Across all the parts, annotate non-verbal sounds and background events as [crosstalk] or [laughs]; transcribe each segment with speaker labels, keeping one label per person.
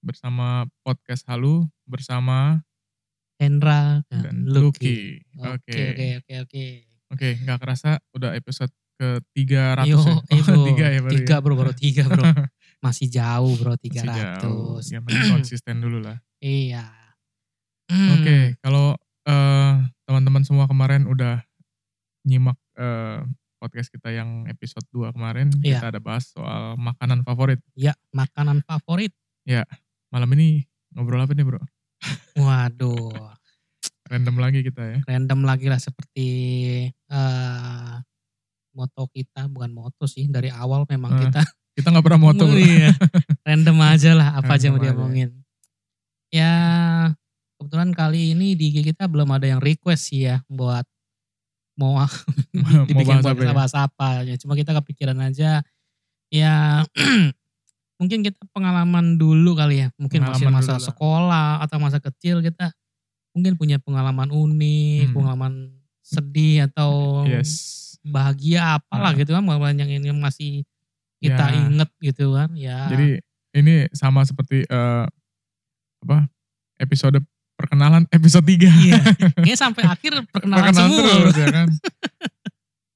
Speaker 1: bersama podcast Halu bersama
Speaker 2: Hendra
Speaker 1: dan Lucky.
Speaker 2: Nah, kan? Oke oke oke oke.
Speaker 1: Oke, nggak kerasa udah episode ke 300
Speaker 2: [laughs] Yo,
Speaker 1: ya.
Speaker 2: itu
Speaker 1: Oh, tiga ya baru
Speaker 2: tiga
Speaker 1: ya.
Speaker 2: bro, baru tiga
Speaker 1: [laughs]
Speaker 2: bro. Masih jauh bro,
Speaker 1: Masih jauh.
Speaker 2: 300.
Speaker 1: Yang
Speaker 2: [clears throat]
Speaker 1: penting Ya, konsisten dulu lah.
Speaker 2: Iya. Hmm,
Speaker 1: Oke, kalau eh, teman-teman semua kemarin udah nyimak eh, podcast kita yang episode 2 kemarin,
Speaker 2: Iya.
Speaker 1: kita ada bahas soal makanan favorit.
Speaker 2: Ya, makanan favorit.
Speaker 1: Malam ini ngobrol apa nih, Bro?
Speaker 2: Waduh,
Speaker 1: Random lagi kita ya.
Speaker 2: random lagi lah seperti eh moto kita, bukan moto sih. Dari awal memang
Speaker 1: Eh,
Speaker 2: kita
Speaker 1: Kita nggak pernah moto. Bro. [laughs]
Speaker 2: Iya. Random aja lah apa aja
Speaker 1: Random
Speaker 2: mau
Speaker 1: aja.
Speaker 2: diomongin. Ya kebetulan kali ini di IG kita belum ada yang request sih ya buat mau
Speaker 1: Mau
Speaker 2: [laughs]
Speaker 1: bahas
Speaker 2: dibikin buat
Speaker 1: apa ya?
Speaker 2: kita bahas apa. Ya, cuma kita kepikiran aja ya [clears throat] mungkin kita pengalaman dulu kali ya. Mungkin masih
Speaker 1: Pengalaman
Speaker 2: masa
Speaker 1: dulu lah.
Speaker 2: sekolah atau masa kecil kita mungkin punya pengalaman
Speaker 1: Hmm.
Speaker 2: unik, pengalaman sedih atau
Speaker 1: Yes.
Speaker 2: bahagia apalah
Speaker 1: Nah.
Speaker 2: gitu kan pengalaman yang ini masih kita
Speaker 1: Ya.
Speaker 2: inget gitu kan ya
Speaker 1: Jadi ini sama seperti eh, apa? Episode perkenalan episode 3.
Speaker 2: [laughs] iya Kayaknya sampai akhir
Speaker 1: Perkenalan
Speaker 2: perkenalan, semua Oh,
Speaker 1: terus ya kan.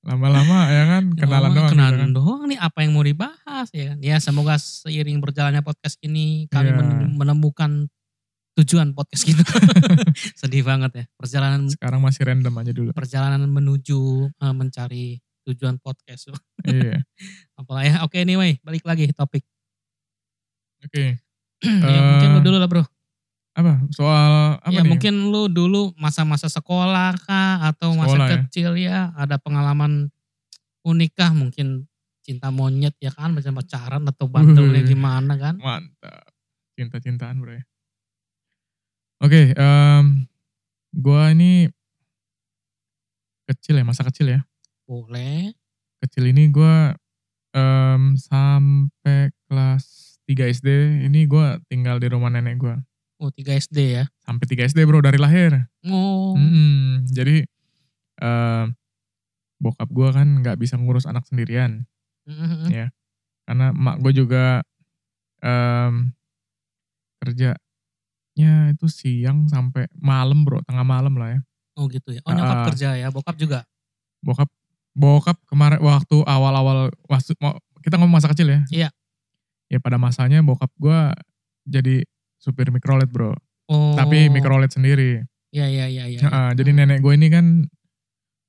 Speaker 1: Lama-lama ya kan kenalan
Speaker 2: Lama-lama
Speaker 1: doang gitu
Speaker 2: kenalan
Speaker 1: kan.
Speaker 2: doang nih apa yang mau dibahas ya kan ya semoga seiring berjalannya podcast ini
Speaker 1: Iya.
Speaker 2: kami menem- menemukan tujuan podcast kita [laughs] sedih banget ya perjalanan
Speaker 1: Sekarang masih random aja dulu.
Speaker 2: perjalanan menuju eh, mencari tujuan podcast
Speaker 1: Iya.
Speaker 2: apalah ya oke anyway balik lagi topik [clears throat]
Speaker 1: Oke.
Speaker 2: Ya, mungkin
Speaker 1: Eh,
Speaker 2: lu dulu lah bro
Speaker 1: Apa? Soal apa
Speaker 2: ya
Speaker 1: nih?
Speaker 2: mungkin lu dulu masa-masa sekolah kah atau
Speaker 1: Sekolah
Speaker 2: masa
Speaker 1: ya.
Speaker 2: kecil ya ada pengalaman unik kah mungkin cinta monyet ya kan macam pacaran atau bandelnya
Speaker 1: Wuih.
Speaker 2: gimana kan
Speaker 1: Mantap. Cinta-cintaan bro ya. Oke, em, gua ini kecil ya, masa kecil ya.
Speaker 2: boleh
Speaker 1: Kecil ini gua em, sampai kelas 3 SD, ini gua tinggal di rumah nenek gua.
Speaker 2: oh 3 SD ya
Speaker 1: Sampai 3 SD bro, dari lahir.
Speaker 2: oh
Speaker 1: Hmm. Mm-mm. Jadi eh bokap gue kan nggak bisa ngurus anak sendirian
Speaker 2: Mhm.
Speaker 1: Ya. karena emak gue juga em, kerjanya itu siang sampai malam bro, tengah malam lah ya.
Speaker 2: oh gitu ya oh nyokap
Speaker 1: Ah.
Speaker 2: kerja ya bokap juga
Speaker 1: Bokap bokap kemarin waktu awal-awal waktu mau- kita ngomong masa kecil ya.
Speaker 2: Iya.
Speaker 1: Ya pada masanya bokap gue jadi supir mikrolet bro,
Speaker 2: oh
Speaker 1: tapi mikrolet sendiri.
Speaker 2: ya ya ya ya,
Speaker 1: Heeh, jadi nenek gue ini kan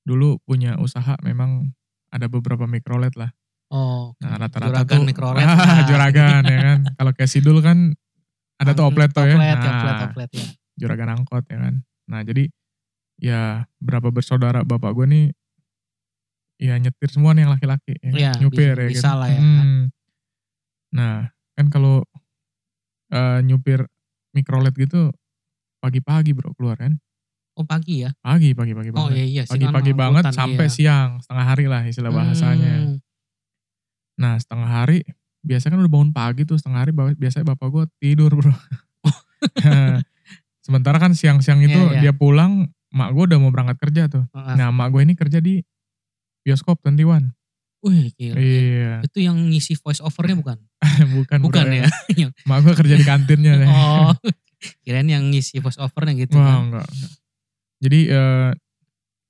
Speaker 1: dulu punya usaha memang ada beberapa mikrolet lah.
Speaker 2: oh
Speaker 1: Nah rata-rata
Speaker 2: Juragan
Speaker 1: tuh,
Speaker 2: mikrolet.
Speaker 1: Ah, [laughs] juragan ya kan. Kalau kayak sidul kan ada tuh oplet tuh ya.
Speaker 2: Mm-hmm. Toplet,
Speaker 1: Nah,
Speaker 2: toplet, toplet ya.
Speaker 1: juragan angkot ya kan. Nah jadi ya berapa bersaudara bapak gue nih ya nyetir semua nih yang laki-laki. Ya, kan.
Speaker 2: Iya,
Speaker 1: nyupir
Speaker 2: bisa-
Speaker 1: ya
Speaker 2: bisa
Speaker 1: gitu.
Speaker 2: lah ya.
Speaker 1: Hmm. Nah kan kalau eh, nyupir mikrolet gitu pagi-pagi bro keluar kan.
Speaker 2: Oh pagi ya?
Speaker 1: Pagi, pagi, pagi
Speaker 2: Oh
Speaker 1: banget
Speaker 2: iya iya. sih, kan
Speaker 1: pagi-pagi
Speaker 2: angkutan,
Speaker 1: banget sampai
Speaker 2: iya.
Speaker 1: siang setengah hari lah istilah bahasanya.
Speaker 2: Hmm,
Speaker 1: Nah setengah hari biasanya kan udah bangun pagi tuh setengah hari ba- biasanya bapak gue tidur bro. [laughs] Sementara kan siang-siang itu
Speaker 2: Oh. Iya, iya.
Speaker 1: dia pulang mak gue udah mau berangkat kerja tuh.
Speaker 2: ah, ah.
Speaker 1: Nah mak gue ini kerja di bioskop 21.
Speaker 2: Wih gila.
Speaker 1: Iya
Speaker 2: Itu yang ngisi voice overnya bukan?
Speaker 1: [laughs] bukan bro,
Speaker 2: Bukan ya?
Speaker 1: Mak gue kerja di kantinnya. ya.
Speaker 2: [laughs] Oh, kirain yang ngisi voice overnya gitu.
Speaker 1: Wah
Speaker 2: kan.
Speaker 1: enggak. enggak. Jadi eh,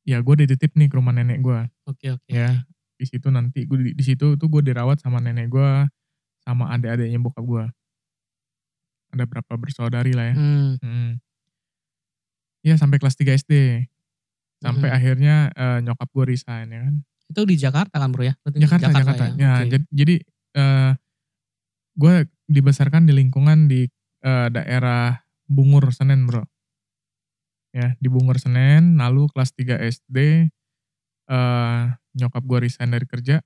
Speaker 1: ya gue dititip nih ke rumah nenek gue.
Speaker 2: Oke oke.
Speaker 1: ya di situ nanti gue di, di situ tuh gue dirawat sama nenek gue sama adik-adiknya bokap gue ada berapa bersaudari lah ya
Speaker 2: Hmm,
Speaker 1: Hmm. ya sampai kelas 3 SD sampai
Speaker 2: Mhm.
Speaker 1: akhirnya eh, nyokap gue resign ya kan
Speaker 2: itu di Jakarta kan bro ya? Berarti
Speaker 1: Jakarta Jakarta, ya,
Speaker 2: oke.
Speaker 1: jadi, jadi eh, gue dibesarkan di lingkungan di eh, daerah Bungur Senen bro ya di Bungur Senen lalu kelas 3 SD eh, nyokap gue resign dari kerja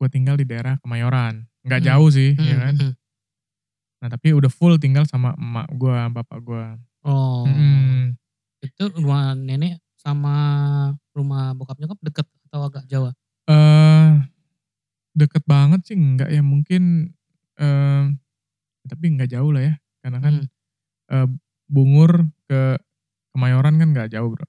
Speaker 1: gue tinggal di daerah Kemayoran nggak
Speaker 2: Hmm.
Speaker 1: jauh sih ya
Speaker 2: Hmm,
Speaker 1: kan
Speaker 2: hmm.
Speaker 1: nah tapi udah full tinggal sama emak gue bapak Hmm. gue
Speaker 2: Oh,
Speaker 1: Mm-mm.
Speaker 2: itu rumah nenek sama rumah bokap nyokap deket atau agak jauh?
Speaker 1: eh deket banget sih nggak ya mungkin eh tapi nggak jauh lah ya karena kan
Speaker 2: Hmm.
Speaker 1: eh, Bungur ke Kemayoran kan nggak jauh bro.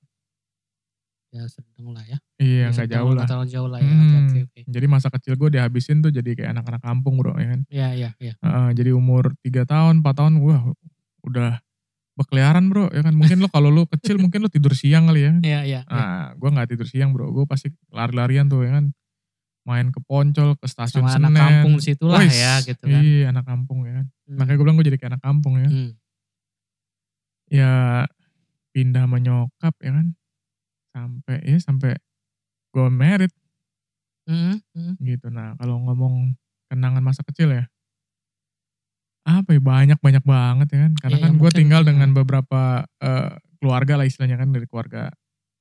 Speaker 2: ya sedang lah ya.
Speaker 1: Iya nggak
Speaker 2: Sedang,
Speaker 1: jauh lah.
Speaker 2: nggak terlalu jauh lah ya.
Speaker 1: Hmm.
Speaker 2: Oke oke oke.
Speaker 1: Jadi masa kecil gue dihabisin tuh jadi kayak anak-anak kampung bro ya kan.
Speaker 2: Iya iya iya.
Speaker 1: Heeh, jadi umur 3 tahun, 4 tahun, wah udah berkeliaran bro ya kan. Mungkin lo kalau lo kecil mungkin lo tidur siang kali ya.
Speaker 2: Iya iya. iya.
Speaker 1: Nah, gue nggak tidur siang bro, gue pasti lari-larian tuh ya kan. Main ke Poncol, ke stasiun
Speaker 2: Sama
Speaker 1: Senen.
Speaker 2: anak kampung di situ lah
Speaker 1: Wais,
Speaker 2: ya gitu kan.
Speaker 1: Iya anak kampung ya kan.
Speaker 2: Hmm.
Speaker 1: Makanya gue bilang gue jadi kayak anak kampung ya.
Speaker 2: Hmm.
Speaker 1: Ya pindah sama nyokap ya kan. Sampai ya sampai gue merit
Speaker 2: Hmm, hmm.
Speaker 1: gitu. Nah kalau ngomong kenangan masa kecil ya, apa ya banyak banyak banget ya kan. Karena
Speaker 2: Iya,
Speaker 1: kan
Speaker 2: iya,
Speaker 1: gue
Speaker 2: mungkin,
Speaker 1: tinggal
Speaker 2: mm.
Speaker 1: dengan beberapa eh, keluarga lah istilahnya kan dari keluarga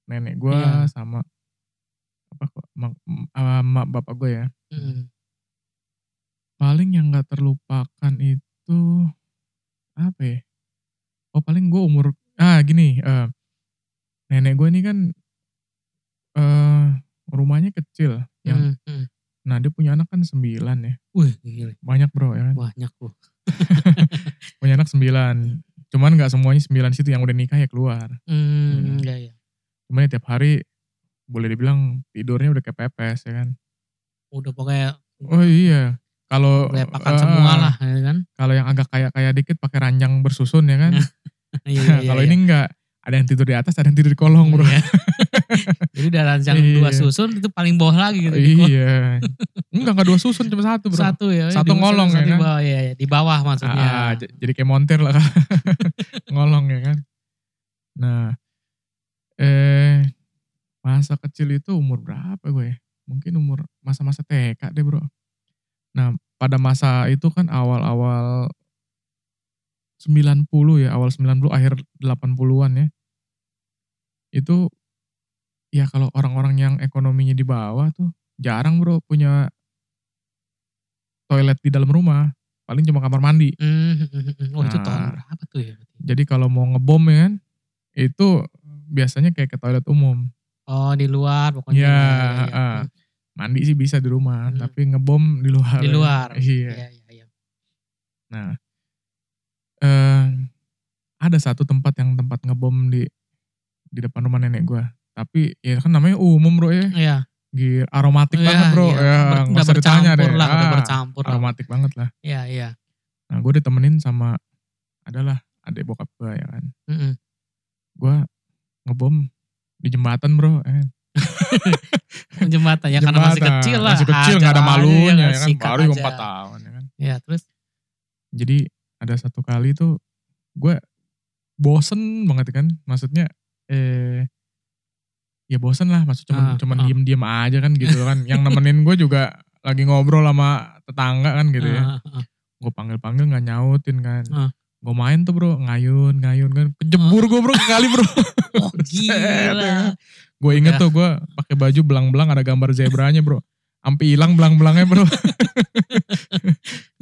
Speaker 1: nenek gue
Speaker 2: Iya.
Speaker 1: sama apa kok mak- m- sama bapak gue ya.
Speaker 2: Hmm.
Speaker 1: Paling yang nggak terlupakan itu apa ya? Oh paling gue umur ah gini eh, nenek gue ini kan eh rumahnya kecil. Yang,
Speaker 2: Hmm, hmm.
Speaker 1: Nah dia punya anak kan sembilan ya.
Speaker 2: Wih, gila.
Speaker 1: banyak bro ya kan
Speaker 2: Banyak loh.
Speaker 1: punya anak sembilan cuman nggak semuanya sembilan situ yang udah nikah ya keluar Iya.
Speaker 2: Hmm, iya iya.
Speaker 1: cuman ya tiap hari boleh dibilang tidurnya udah kepepes ya kan
Speaker 2: Udah pokoknya
Speaker 1: oh iya kalau
Speaker 2: lepakan
Speaker 1: eh,
Speaker 2: semua lah ya
Speaker 1: [laughs]
Speaker 2: kan. [laughs]
Speaker 1: kalau yang agak kaya kaya dikit pakai ranjang bersusun ya kan
Speaker 2: Iya, iya, iya,
Speaker 1: [laughs] kalau
Speaker 2: iya.
Speaker 1: ini enggak ada yang tidur di atas ada yang tidur di kolong bro
Speaker 2: Iya. [laughs] Jadi udah rancang
Speaker 1: Iya.
Speaker 2: dua susun itu paling bawah lagi gitu. di bawah.
Speaker 1: iya enggak enggak dua susun cuma satu bro
Speaker 2: Satu ya.
Speaker 1: Satu
Speaker 2: di-
Speaker 1: ngolong
Speaker 2: satu
Speaker 1: ya
Speaker 2: di
Speaker 1: kan?
Speaker 2: bawah, iya, iya. Di bawah maksudnya.
Speaker 1: Ah, j- jadi kayak montir lah kan. [laughs] ngolong ya kan nah eh masa kecil itu umur berapa gue ya? mungkin umur masa-masa TK deh bro nah pada masa itu kan awal-awal 90 ya awal 90 akhir 80-an ya itu ya kalau orang-orang yang ekonominya di bawah tuh jarang bro punya toilet di dalam rumah paling cuma kamar mandi
Speaker 2: Hmm, hmm, hmm, hmm. Oh itu
Speaker 1: Nah.
Speaker 2: tahun berapa tuh ya?
Speaker 1: Jadi kalau mau ngebom ya kan, itu biasanya kayak ke toilet umum.
Speaker 2: Oh di luar pokoknya.
Speaker 1: Iya,
Speaker 2: Iya, iya.
Speaker 1: ah. Mandi sih bisa di rumah,
Speaker 2: Hmm.
Speaker 1: tapi ngebom di luar.
Speaker 2: Di luar.
Speaker 1: Iya.
Speaker 2: Iya iya iya.
Speaker 1: Nah, eh, ada satu tempat yang tempat ngebom di di depan rumah nenek gua. Tapi ya kan namanya umum bro ya,
Speaker 2: Iya.
Speaker 1: Gila, aromatik
Speaker 2: Iya,
Speaker 1: banget bro.
Speaker 2: iya.
Speaker 1: Ya,
Speaker 2: Ber-
Speaker 1: nggak
Speaker 2: udah
Speaker 1: usah ditanya
Speaker 2: bercampur
Speaker 1: deh.
Speaker 2: lah, udah
Speaker 1: Ah,
Speaker 2: bercampur. lah.
Speaker 1: aromatik banget lah.
Speaker 2: Iya iya.
Speaker 1: Nah gue ditemenin sama adalah adik bokap gua ya kan.
Speaker 2: Mm-mm.
Speaker 1: Gua ngebom di jembatan bro. ya kan.
Speaker 2: Jembatan ya karena masih
Speaker 1: Jembatan.
Speaker 2: kecil lah.
Speaker 1: Masih kecil
Speaker 2: Hajar
Speaker 1: nggak ada
Speaker 2: aja,
Speaker 1: malunya
Speaker 2: nggak
Speaker 1: ya kan.
Speaker 2: sikat
Speaker 1: Baru juga
Speaker 2: aja.
Speaker 1: empat tahun ya kan.
Speaker 2: Iya terus.
Speaker 1: Jadi ada satu kali tuh gue bosen banget kan. Maksudnya eh ya bosen lah. Maksud cuman
Speaker 2: Ah,
Speaker 1: cuman
Speaker 2: ah.
Speaker 1: diem-diem aja kan gitu kan. Yang nemenin gue juga lagi ngobrol sama tetangga kan gitu ya.
Speaker 2: Ah, ah, ah.
Speaker 1: Gue panggil-panggil nggak nyautin kan.
Speaker 2: Ah.
Speaker 1: Gue main tuh bro ngayun ngayun kan. Kejebur gue bro kali bro.
Speaker 2: Oh
Speaker 1: [laughs] Set, ya kan.
Speaker 2: gila.
Speaker 1: Gue inget
Speaker 2: Udah.
Speaker 1: tuh gue pakai baju belang-belang ada gambar zebranya bro. Ampe hilang belang-belangnya bro.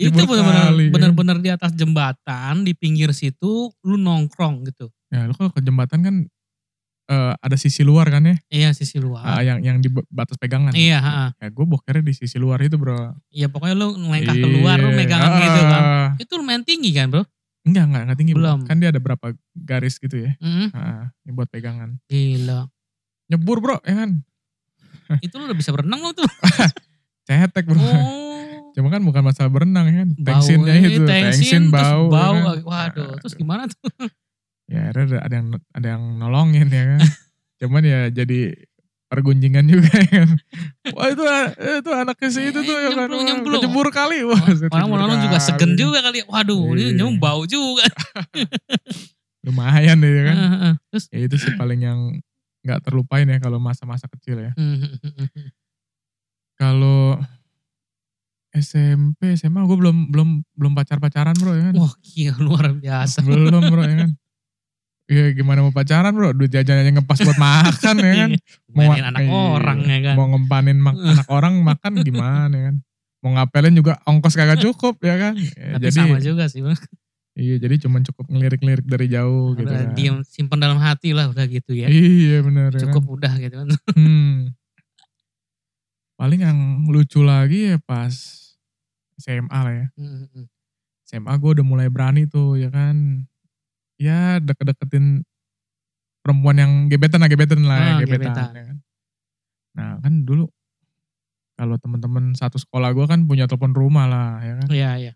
Speaker 2: Itu
Speaker 1: Libur
Speaker 2: benar-benar
Speaker 1: kali, ya.
Speaker 2: benar-benar di atas jembatan di pinggir situ lu nongkrong gitu.
Speaker 1: Ya lu kalau ke jembatan kan eh, ada sisi luar kan ya,
Speaker 2: Iya sisi
Speaker 1: Ah,
Speaker 2: luar.
Speaker 1: yang yang di ba- batas pegangan.
Speaker 2: Iya, ha, ha.
Speaker 1: Ya gue bokernya di sisi luar itu bro.
Speaker 2: iya pokoknya lu melengkah keluar, lu
Speaker 1: Iya.
Speaker 2: megang
Speaker 1: Ah,
Speaker 2: gitu kan. Itu lumayan tinggi kan bro?
Speaker 1: Enggak, enggak, enggak tinggi. Bro.
Speaker 2: Belum.
Speaker 1: Kan dia ada berapa garis gitu ya.
Speaker 2: Mm,
Speaker 1: Ah, ini buat pegangan.
Speaker 2: gila.
Speaker 1: Nyebur bro, ya kan?
Speaker 2: Itu lu udah bisa berenang lu tuh.
Speaker 1: [laughs] Cetek bro.
Speaker 2: Oh.
Speaker 1: Cuma kan bukan masalah berenang ya kan. Tengsinnya
Speaker 2: Baunya,
Speaker 1: itu.
Speaker 2: Tengsin, terus bau.
Speaker 1: ya kan?
Speaker 2: Waduh, terus gimana tuh?
Speaker 1: [laughs] Ya akhirnya ada, ada yang ada yang nolongin ya
Speaker 2: [laughs]
Speaker 1: kan. Cuman ya jadi pergunjingan juga ya kan. Wah itu itu anaknya si itu tuh ya kan.
Speaker 2: Nyemplung,
Speaker 1: Wah,
Speaker 2: nyemplung.
Speaker 1: kecebur kali. Wah,
Speaker 2: Orang
Speaker 1: kecebur
Speaker 2: orang juga
Speaker 1: kali.
Speaker 2: segen juga kali. Waduh,
Speaker 1: Iya.
Speaker 2: ini nyum bau juga.
Speaker 1: Lumayan deh ya kan.
Speaker 2: Heeh, terus
Speaker 1: Ya itu sih paling yang nggak terlupain ya kalau masa-masa kecil ya. Kalau SMP, SMA gue belum belum belum pacar-pacaran bro ya kan.
Speaker 2: Wah gila luar biasa.
Speaker 1: Belum bro ya kan. Iya gimana mau pacaran bro, duit jajan aja ngepas buat makan ya kan. Mau-
Speaker 2: [laughs] Mainin anak
Speaker 1: iya.
Speaker 2: orang ya kan.
Speaker 1: mau ngempanin mak-
Speaker 2: [laughs]
Speaker 1: anak orang makan gimana ya kan mau ngapelin juga ongkos kagak cukup ya kan Ya,
Speaker 2: Tapi
Speaker 1: jadi
Speaker 2: sama juga sih. Bang.
Speaker 1: iya jadi cuman cukup ngelirik-lirik dari jauh gitu
Speaker 2: udah
Speaker 1: kan
Speaker 2: diam simpan dalam hati lah udah gitu ya.
Speaker 1: iya benar
Speaker 2: Cukup udah gitu
Speaker 1: [laughs]
Speaker 2: kan.
Speaker 1: Hmm. paling yang lucu lagi ya pas SMA lah ya
Speaker 2: Hmm, hmm.
Speaker 1: SMA gue udah mulai berani tuh ya kan ya deket-deketin perempuan yang gebetan lah gebetan lah ya,
Speaker 2: Ah,
Speaker 1: gebetan,
Speaker 2: gebetan.
Speaker 1: ya kan. Nah kan dulu kalau teman-teman satu sekolah gua kan punya telepon rumah lah ya kan.
Speaker 2: Iya, iya.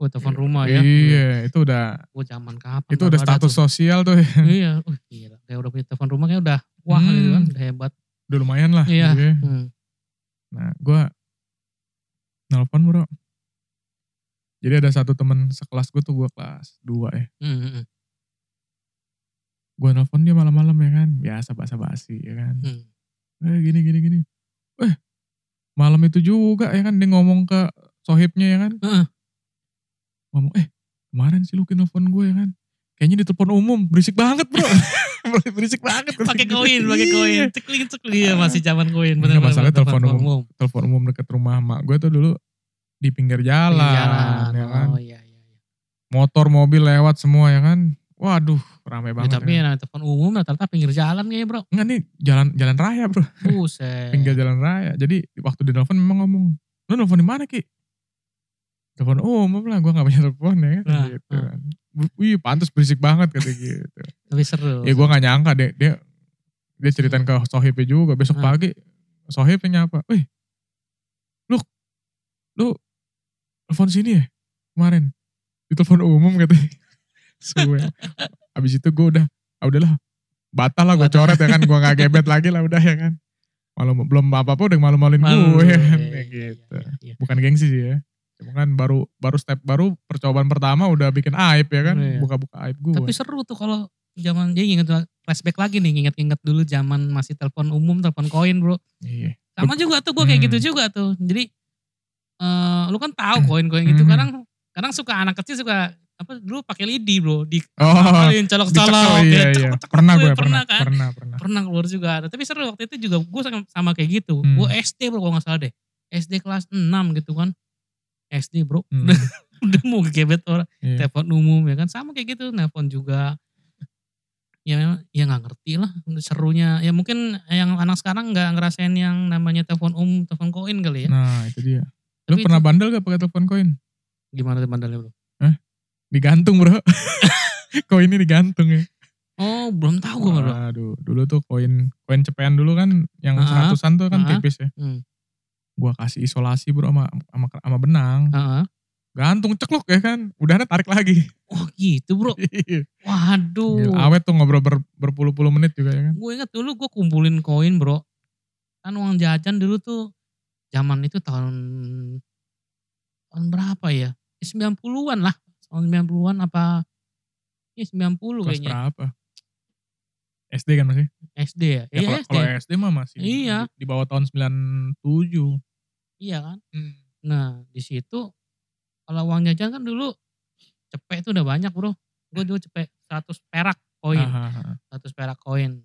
Speaker 2: Oh, telepon rumah ya.
Speaker 1: Iya itu udah
Speaker 2: Oh, zaman kapan?
Speaker 1: itu
Speaker 2: baru
Speaker 1: udah
Speaker 2: ada
Speaker 1: status [laughs]
Speaker 2: tuh.
Speaker 1: sosial tuh ya.
Speaker 2: iya, uh, gila. Kayak udah punya telepon rumah kayak udah wah gitu
Speaker 1: Hmm.
Speaker 2: kan, udah hebat.
Speaker 1: udah lumayan lah.
Speaker 2: Iya.
Speaker 1: gitu ya.
Speaker 2: Hmm.
Speaker 1: Nah gua nelpon bro. Jadi ada satu temen sekelas gue tuh gue kelas 2 ya.
Speaker 2: Hmm, hmm, hmm,
Speaker 1: Gue nelpon dia malam-malam ya kan. Biasa basa-basi ya kan.
Speaker 2: hmm.
Speaker 1: eh gini gini gini eh malam itu juga ya kan dia ngomong ke sohibnya ya kan
Speaker 2: Heeh.
Speaker 1: ngomong eh kemarin si Lucky nelfon gue ya kan kayaknya di telepon umum berisik banget bro [laughs] berisik banget
Speaker 2: Pakai koin, pakai koin.
Speaker 1: Iya.
Speaker 2: Cekling cekling ya masih zaman koin.
Speaker 1: Ini masalahnya telepon telepon umum deket rumah emak gue tuh dulu di pinggir jalan,
Speaker 2: Jalan.
Speaker 1: ya kan
Speaker 2: Oh iya iya. iya.
Speaker 1: motor mobil lewat semua ya kan waduh ramai
Speaker 2: Ya,
Speaker 1: banget
Speaker 2: tapi
Speaker 1: ya.
Speaker 2: yang namanya telepon umum rata-rata pinggir jalan kayaknya
Speaker 1: [laughs]
Speaker 2: bro.
Speaker 1: Enggak nih jalan jalan raya bro
Speaker 2: Buset.
Speaker 1: pinggir jalan raya. Jadi waktu di telepon memang ngomong, lu nelfon di mana Ki? Telepon umum lah, gue gak punya telepon ya. kan,
Speaker 2: Nah,
Speaker 1: gitu. kan. Wih pantas berisik banget kata gitu.
Speaker 2: Tapi seru.
Speaker 1: ya gue gak nyangka deh, dia dia ceritain ke sohibnya juga. Besok
Speaker 2: Nah.
Speaker 1: pagi sohibnya nyapa, wih lu, lu telepon sini ya kemarin. Di telepon umum katanya. [laughs] Suwe. Abis itu gue udah, ah udahlah batal lah gue
Speaker 2: Batal.
Speaker 1: coret ya kan. Gue gak gebet lagi lah udah ya kan. Malu, belum apa-apa udah malu-maluin
Speaker 2: Malu,
Speaker 1: gue ya kan.
Speaker 2: iya,
Speaker 1: Ya
Speaker 2: iya, iya,
Speaker 1: gitu.
Speaker 2: iya, iya.
Speaker 1: Bukan gengsi sih ya. Cuma kan baru baru step baru percobaan pertama udah bikin aib ya kan.
Speaker 2: Iya.
Speaker 1: Buka-buka aib gue.
Speaker 2: Tapi seru tuh kalau zaman jadi inget flashback lagi nih nginget-nginget dulu zaman masih telepon umum, telepon koin, Bro.
Speaker 1: Iya.
Speaker 2: Sama juga tuh gue kayak
Speaker 1: Hmm.
Speaker 2: gitu juga tuh. Jadi eh lu kan tahu koin-koin gitu
Speaker 1: Hmm.
Speaker 2: kadang kadang suka anak kecil suka apa dulu pakai lidi, Bro. Di ah,
Speaker 1: Oh,
Speaker 2: Apalin colok-colok
Speaker 1: dicekel iya,
Speaker 2: ya,
Speaker 1: iya.
Speaker 2: cekok-cekok
Speaker 1: Pernah
Speaker 2: tuh ya,
Speaker 1: gue
Speaker 2: pernah
Speaker 1: pernah,
Speaker 2: kan?
Speaker 1: pernah,
Speaker 2: [laughs]
Speaker 1: pernah.
Speaker 2: pernah keluar juga ada. Tapi seru waktu itu juga gue sama, sama kayak gitu.
Speaker 1: Hmm.
Speaker 2: Gue SD bro kalau gak salah deh. SD kelas 6 gitu kan. SD bro.
Speaker 1: Hmm,
Speaker 2: [laughs] Udah mau gebet orang.
Speaker 1: iya.
Speaker 2: Telepon umum ya kan. Sama kayak gitu. Telepon juga. Ya memang ya gak ngerti lah serunya. Ya mungkin yang anak sekarang gak ngerasain yang namanya telepon umum. Telepon koin kali ya.
Speaker 1: Nah, itu dia. Lu
Speaker 2: Tapi
Speaker 1: pernah bandel gak pakai telepon koin?
Speaker 2: itu Gimana tuh bandelnya bro?
Speaker 1: Digantung, Bro. [laughs] Koinnya digantung ya.
Speaker 2: Oh belum tahu gue bro.
Speaker 1: Aduh, dulu tuh koin koin cepean dulu kan yang
Speaker 2: Ah,
Speaker 1: seratusan tuh kan
Speaker 2: ah.
Speaker 1: tipis ya.
Speaker 2: Hmm.
Speaker 1: Gua kasih isolasi, Bro, sama sama, sama benang.
Speaker 2: Heeh.
Speaker 1: Gantung cekluk ya kan. Udahnya tarik lagi. Iya.
Speaker 2: Wah gitu
Speaker 1: [laughs]
Speaker 2: bro.
Speaker 1: Gila,
Speaker 2: Waduh.
Speaker 1: Awet tuh ngobrol ber- berpuluh-puluh menit juga ya kan.
Speaker 2: gue inget dulu gue kumpulin koin bro kan uang jajan dulu tuh zaman itu tahun tahun berapa ya Ya, 90-an lah tahun 90-an apa ya 90
Speaker 1: Kelas
Speaker 2: kayaknya
Speaker 1: berapa? SD kan masih?
Speaker 2: SD ya,
Speaker 1: Ya,
Speaker 2: iya
Speaker 1: kalau-
Speaker 2: SD
Speaker 1: kalau SD mah masih
Speaker 2: Iya.
Speaker 1: di, di bawah tahun 97.
Speaker 2: iya kan
Speaker 1: Hmm.
Speaker 2: nah di situ kalau uang jajan kan dulu cepet itu udah banyak bro gue dulu cepet 100 perak koin
Speaker 1: Aha, aha.
Speaker 2: 100 perak koin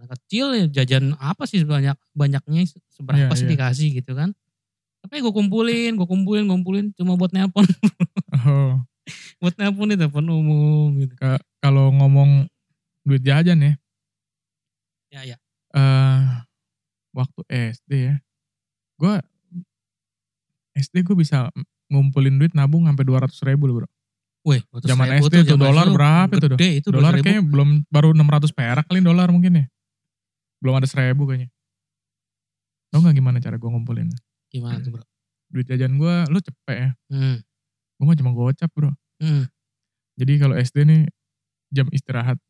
Speaker 2: anak kecil ya jajan apa sih banyak banyaknya seberapa
Speaker 1: Iya,
Speaker 2: sih
Speaker 1: iya.
Speaker 2: dikasih gitu kan tapi gue kumpulin gue kumpulin kumpulin cuma buat nelpon
Speaker 1: [laughs]
Speaker 2: [laughs]
Speaker 1: Oh,
Speaker 2: buat nelpon nih telepon umum gitu
Speaker 1: Ka- kalau ngomong duit jajan ya,
Speaker 2: ya ya
Speaker 1: eh waktu SD ya, gue SD gue bisa ngumpulin duit nabung sampai 200 ribu loh bro.
Speaker 2: Weh, waktu
Speaker 1: Zaman
Speaker 2: saya-
Speaker 1: SD
Speaker 2: waktu
Speaker 1: tuh
Speaker 2: zaman
Speaker 1: dolar
Speaker 2: itu
Speaker 1: berapa itu
Speaker 2: gede itu
Speaker 1: Dolar
Speaker 2: 2000.
Speaker 1: kayaknya belum baru 600 perak kali dolar mungkin ya. Belum ada seribu kayaknya. Tau gak gimana cara gue ngumpulin?
Speaker 2: gimana
Speaker 1: Hmm.
Speaker 2: tuh bro
Speaker 1: Duit jajan gue, lu cepet ya.
Speaker 2: hmm.
Speaker 1: Gue mah cuma gocap bro.
Speaker 2: Hmm.
Speaker 1: Jadi kalau SD nih jam istirahat.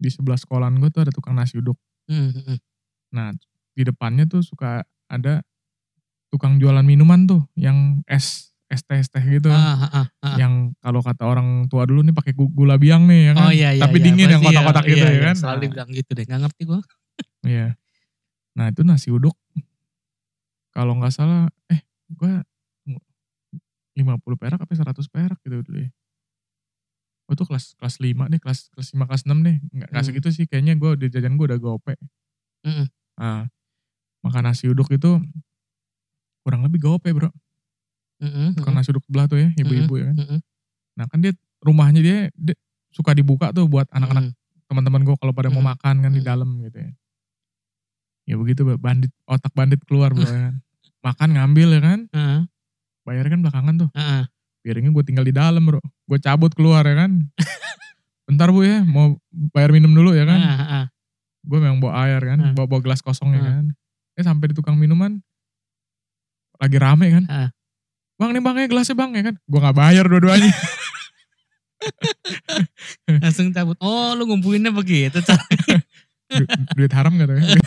Speaker 1: Di sebelah sekolahan gue tuh ada tukang nasi uduk.
Speaker 2: Hmm. hmm, hmm.
Speaker 1: Nah, di depannya tuh suka ada tukang jualan minuman tuh yang es, es teh, es teh gitu.
Speaker 2: Ah, ah, ah, ah.
Speaker 1: Yang kalau kata orang tua dulu nih pakai gu- gula biang nih ya kan.
Speaker 2: oh iya iya
Speaker 1: Tapi
Speaker 2: iya,
Speaker 1: dingin yang
Speaker 2: pasti iya,
Speaker 1: kotak-kotak gitu ya
Speaker 2: iya, iya,
Speaker 1: kan?
Speaker 2: selalu
Speaker 1: Nah.
Speaker 2: dibilang gitu deh nggak ngerti gue
Speaker 1: Iya. Nah, itu nasi uduk. Kalau nggak salah eh gua 50 perak apa 100 perak gitu dulu ya. Oh itu kelas kelas 5 nih, kelas kelas 5 kelas 6 nih. Enggak enggak
Speaker 2: Hmm.
Speaker 1: segitu sih kayaknya gua di jajan gua udah gope.
Speaker 2: Mm-mm.
Speaker 1: Nah, makan nasi uduk itu kurang lebih gope, Bro. Tukang nasi uduk sebelah tuh ya, ibu-ibu
Speaker 2: Mm-hmm.
Speaker 1: ya kan. Nah, kan dia rumahnya dia, dia suka dibuka tuh
Speaker 2: Mm-hmm.
Speaker 1: buat anak-anak teman-teman gue kalau pada mau
Speaker 2: Mm-mm.
Speaker 1: makan kan di
Speaker 2: Mm.
Speaker 1: dalam gitu ya. Ya begitu Bro. bandit otak bandit keluar bro ya kan. Makan ngambil ya kan, bayarnya kan belakangan tuh. Piringnya gue tinggal di dalam bro. Gue cabut keluar ya kan. bentar bu ya mau bayar minum dulu ya kan.
Speaker 2: Ah, ah.
Speaker 1: Gue memang bawa air kan,
Speaker 2: Ah.
Speaker 1: bawa bawa gelas kosong ya
Speaker 2: Ah.
Speaker 1: kan. Eh sampai di tukang minuman lagi rame kan.
Speaker 2: Ah.
Speaker 1: Bang nih bang ya gelasnya bang ya kan. Gue nggak bayar dua-duanya. Eh.
Speaker 2: Langsung cabut. Oh lu ngumpulinnya begitu. Cak.
Speaker 1: Du- duit haram gak tuh
Speaker 2: [laughs]
Speaker 1: ya.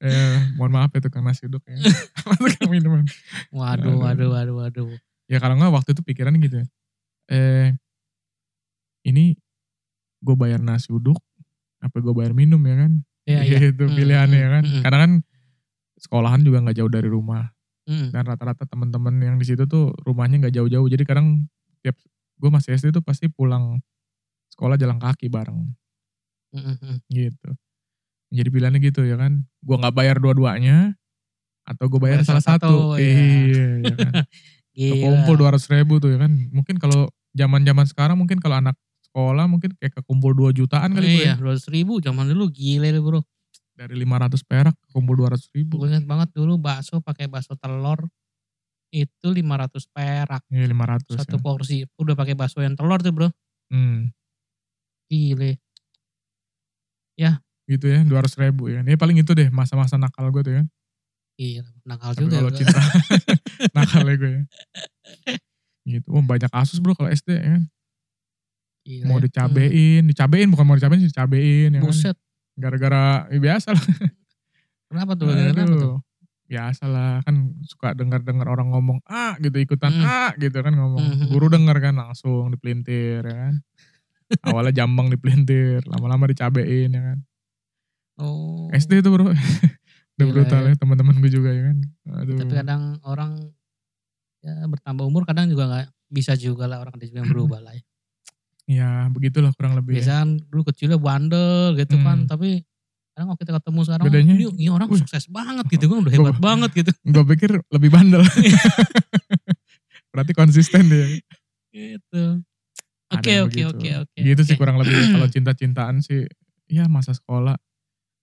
Speaker 1: Eh, mohon maaf ya tukang nasi uduk
Speaker 2: [laughs]
Speaker 1: ya. Sama tukang minuman.
Speaker 2: Waduh, waduh, waduh, waduh.
Speaker 1: ya kalau nggak waktu itu pikiran gitu ya. eh ini gue bayar nasi uduk apa gue bayar minum ya kan
Speaker 2: Iya,
Speaker 1: [laughs]
Speaker 2: iya.
Speaker 1: itu
Speaker 2: Mm,
Speaker 1: pilihannya ya
Speaker 2: mm,
Speaker 1: kan
Speaker 2: mm,
Speaker 1: karena kan sekolahan juga nggak jauh dari rumah
Speaker 2: Mm.
Speaker 1: dan rata-rata teman-teman yang di situ tuh rumahnya nggak jauh-jauh jadi kadang tiap gue masih SD tuh pasti pulang sekolah jalan kaki bareng
Speaker 2: Mm, mm,
Speaker 1: gitu jadi pilihannya gitu ya kan gue nggak bayar dua-duanya atau gue bayar
Speaker 2: Bayar
Speaker 1: salah
Speaker 2: salah
Speaker 1: satu,
Speaker 2: satu, ya. Iya.
Speaker 1: iya ya
Speaker 2: [laughs]
Speaker 1: kan
Speaker 2: Gila.
Speaker 1: kekumpul dua ribu tuh ya kan mungkin kalau zaman zaman sekarang mungkin kalau anak sekolah mungkin kayak kekumpul 2 jutaan kali Bu,
Speaker 2: Iya,
Speaker 1: ya.
Speaker 2: dua ribu zaman dulu gile lu bro.
Speaker 1: dari 500 perak kekumpul 200 ribu
Speaker 2: Gue ingat banget dulu bakso pakai bakso telur itu 500 perak
Speaker 1: ya 500 ya.
Speaker 2: satu porsi. Udah pakai bakso yang telur tuh bro.
Speaker 1: Hmm,
Speaker 2: Gile.
Speaker 1: gitu ya 200 ribu ya ini paling itu deh masa-masa nakal gue tuh ya
Speaker 2: Gila. Nakal
Speaker 1: tapi
Speaker 2: juga.
Speaker 1: kalau
Speaker 2: bro.
Speaker 1: cinta [laughs] nakalnya gue ya gitu oh banyak kasus bro kalau SD ya kan
Speaker 2: Gila
Speaker 1: mau
Speaker 2: ya.
Speaker 1: dicabein dicabein bukan mau dicabein sih dicabein
Speaker 2: Hmm.
Speaker 1: ya kan
Speaker 2: Buset.
Speaker 1: gara-gara ya biasa lah
Speaker 2: Kenapa tuh? Kenapa tuh?
Speaker 1: Aduh. Biasa lah kan suka dengar-dengar orang ngomong ah gitu ikutan
Speaker 2: Hmm.
Speaker 1: ah gitu kan ngomong
Speaker 2: Hmm.
Speaker 1: guru denger kan langsung dipelintir ya kan awalnya jambang dipelintir lama-lama dicabein ya kan
Speaker 2: Oh.
Speaker 1: SD itu bro [laughs] udah
Speaker 2: Gila,
Speaker 1: brutal
Speaker 2: ya.
Speaker 1: ya teman-teman gue juga ya kan aduh
Speaker 2: Gitu. Tapi kadang orang ya bertambah umur kadang juga nggak bisa juga lah orang ada juga yang berubah
Speaker 1: [laughs]
Speaker 2: lah.
Speaker 1: Iya.
Speaker 2: ya.
Speaker 1: ya begitulah kurang lebih ya.
Speaker 2: Biasanya kan dulu kecilnya bandel gitu kan,
Speaker 1: Hmm.
Speaker 2: tapi kadang kalau kita ketemu sekarang,
Speaker 1: Bedanya?
Speaker 2: ini, ini orang
Speaker 1: Wih.
Speaker 2: sukses banget gitu kan, udah hebat banget
Speaker 1: [laughs]
Speaker 2: gitu.
Speaker 1: gue pikir lebih bandel
Speaker 2: [laughs]
Speaker 1: berarti konsisten dia
Speaker 2: Gitu.
Speaker 1: Ada
Speaker 2: Oke
Speaker 1: yang
Speaker 2: oke
Speaker 1: begitu.
Speaker 2: oke oke.
Speaker 1: gitu sih
Speaker 2: oke.
Speaker 1: kurang lebih kalau cinta-cintaan sih ya masa sekolah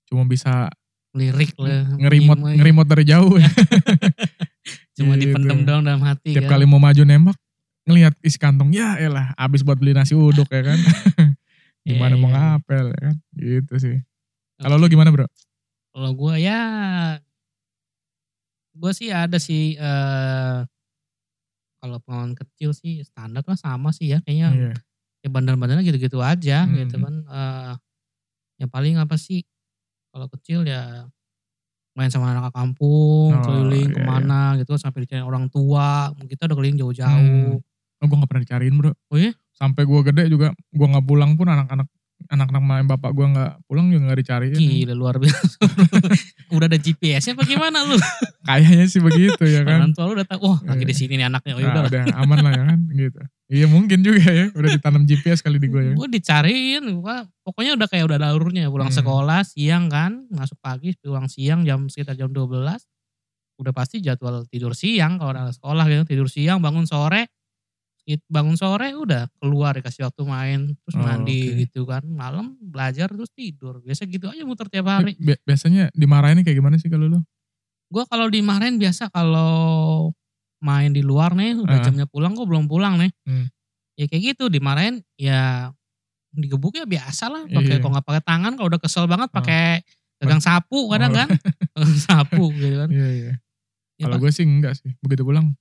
Speaker 1: cuma bisa
Speaker 2: Lirik lah.
Speaker 1: Hmm. ngerimot
Speaker 2: Cuma-
Speaker 1: ngerimot dari jauh ya.
Speaker 2: Cuma
Speaker 1: Gitu.
Speaker 2: dipendam doang dalam hati
Speaker 1: Tiap
Speaker 2: kan.
Speaker 1: kali mau maju nembak ngelihat isi kantong ya elah habis buat beli nasi uduk ya
Speaker 2: [laughs]
Speaker 1: kan. gimana
Speaker 2: Iya,
Speaker 1: mau
Speaker 2: iya.
Speaker 1: ngapel ya kan. Gitu sih. Kalau
Speaker 2: Oke.
Speaker 1: lu gimana, Bro?
Speaker 2: Kalau gue ya, gue sih ada sih. eh kalau pengalaman kecil sih standar lah sama sih ya kayaknya
Speaker 1: Iya.
Speaker 2: ya bandel-bandelnya gitu-gitu aja
Speaker 1: Hmm.
Speaker 2: gitu kan Eh, yang paling apa sih kalau kecil ya main sama anak kampung
Speaker 1: Oh, iya,
Speaker 2: keliling kemana gitu sampai dicari orang tua kita udah keliling jauh-jauh
Speaker 1: Oh, gua gak pernah dicariin, Bro.
Speaker 2: Oh, iya?
Speaker 1: Sampai gua gede juga gua nggak pulang pun anak-anak anak-anak main bapak gua nggak pulang juga nggak dicariin.
Speaker 2: gila luar biasa [laughs] udah ada GPS-nya apa gimana lu
Speaker 1: Kayaknya sih begitu ya kan.
Speaker 2: orang tua lu udah tahu wah lagi di sini nih anaknya oh,
Speaker 1: Nah,
Speaker 2: udah
Speaker 1: udah aman lah ya kan gitu. Iya mungkin juga ya, udah ditanam GPS kali di gua ya.
Speaker 2: gue dicariin gua, pokoknya udah kayak udah ada alurnya pulang
Speaker 1: Hmm.
Speaker 2: sekolah siang kan masuk pagi pulang siang jam sekitar jam 12 udah pasti jadwal tidur siang kalau ada sekolah gitu tidur siang bangun sore it- bangun sore udah keluar dikasih waktu main terus
Speaker 1: Oh,
Speaker 2: mandi
Speaker 1: oke.
Speaker 2: gitu kan malam belajar terus tidur biasa gitu aja muter tiap hari
Speaker 1: Bi- Biasanya dimarahin kayak gimana sih kalau lu?
Speaker 2: gue kalau dimarahin biasa kalau main di luar nih udah
Speaker 1: Ah.
Speaker 2: jamnya pulang kok belum pulang nih
Speaker 1: Hmm.
Speaker 2: ya kayak gitu dimarahin ya digebuk ya biasa lah pakai
Speaker 1: Iya.
Speaker 2: kalau nggak pakai tangan kalau udah kesel banget pakai gagang sapu kadang
Speaker 1: Oh.
Speaker 2: kan gagang sapu gitu kan
Speaker 1: Iya, iya.
Speaker 2: Ya,
Speaker 1: Kalau
Speaker 2: Pak,
Speaker 1: gue sih enggak sih. Begitu pulang,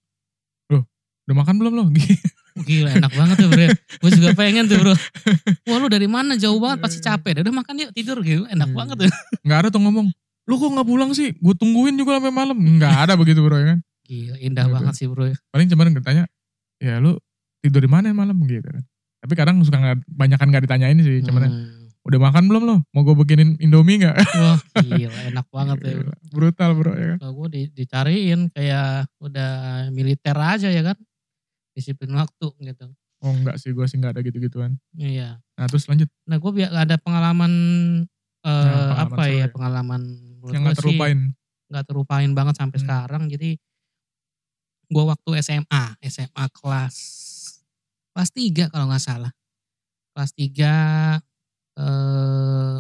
Speaker 1: loh udah makan belum lo? [laughs] Gitu.
Speaker 2: gila enak banget tuh bro gue juga pengen tuh bro wah lu dari mana jauh banget pasti capek dah udah makan yuk tidur gitu enak
Speaker 1: Iya.
Speaker 2: banget tuh
Speaker 1: Enggak ada tuh ngomong, lu kok nggak pulang sih? Gue tungguin juga sampai malam. Enggak ada begitu bro ya kan.
Speaker 2: gila indah
Speaker 1: Gitu.
Speaker 2: banget sih bro
Speaker 1: Paling cuman ditanya, ya lu tidur di mana malam gitu kan. Tapi kadang suka nggak banyakan nggak ditanyain sih, cuman
Speaker 2: Hmm.
Speaker 1: udah makan belum lo? Mau gue bikinin indomie nggak? Gitu.
Speaker 2: wah gila enak banget
Speaker 1: Iya.
Speaker 2: ya bro.
Speaker 1: Brutal bro ya kan.
Speaker 2: Kalau gue di, dicariin kayak udah militer aja ya kan. Disiplin waktu gitu.
Speaker 1: Oh enggak sih, gue sih enggak ada gitu-gituan.
Speaker 2: Iya.
Speaker 1: Nah terus lanjut,
Speaker 2: Nah gue ada pengalaman, eh,
Speaker 1: pengalaman
Speaker 2: apa
Speaker 1: seru
Speaker 2: ya,
Speaker 1: ya.
Speaker 2: pengalaman menurut
Speaker 1: yang
Speaker 2: gua
Speaker 1: nggak
Speaker 2: sih
Speaker 1: terlupain.
Speaker 2: nggak terupain banget sampai
Speaker 1: Hmm.
Speaker 2: sekarang. Jadi gue waktu SMA, SMA kelas kelas 3 kalau nggak salah. Kelas 3 eh,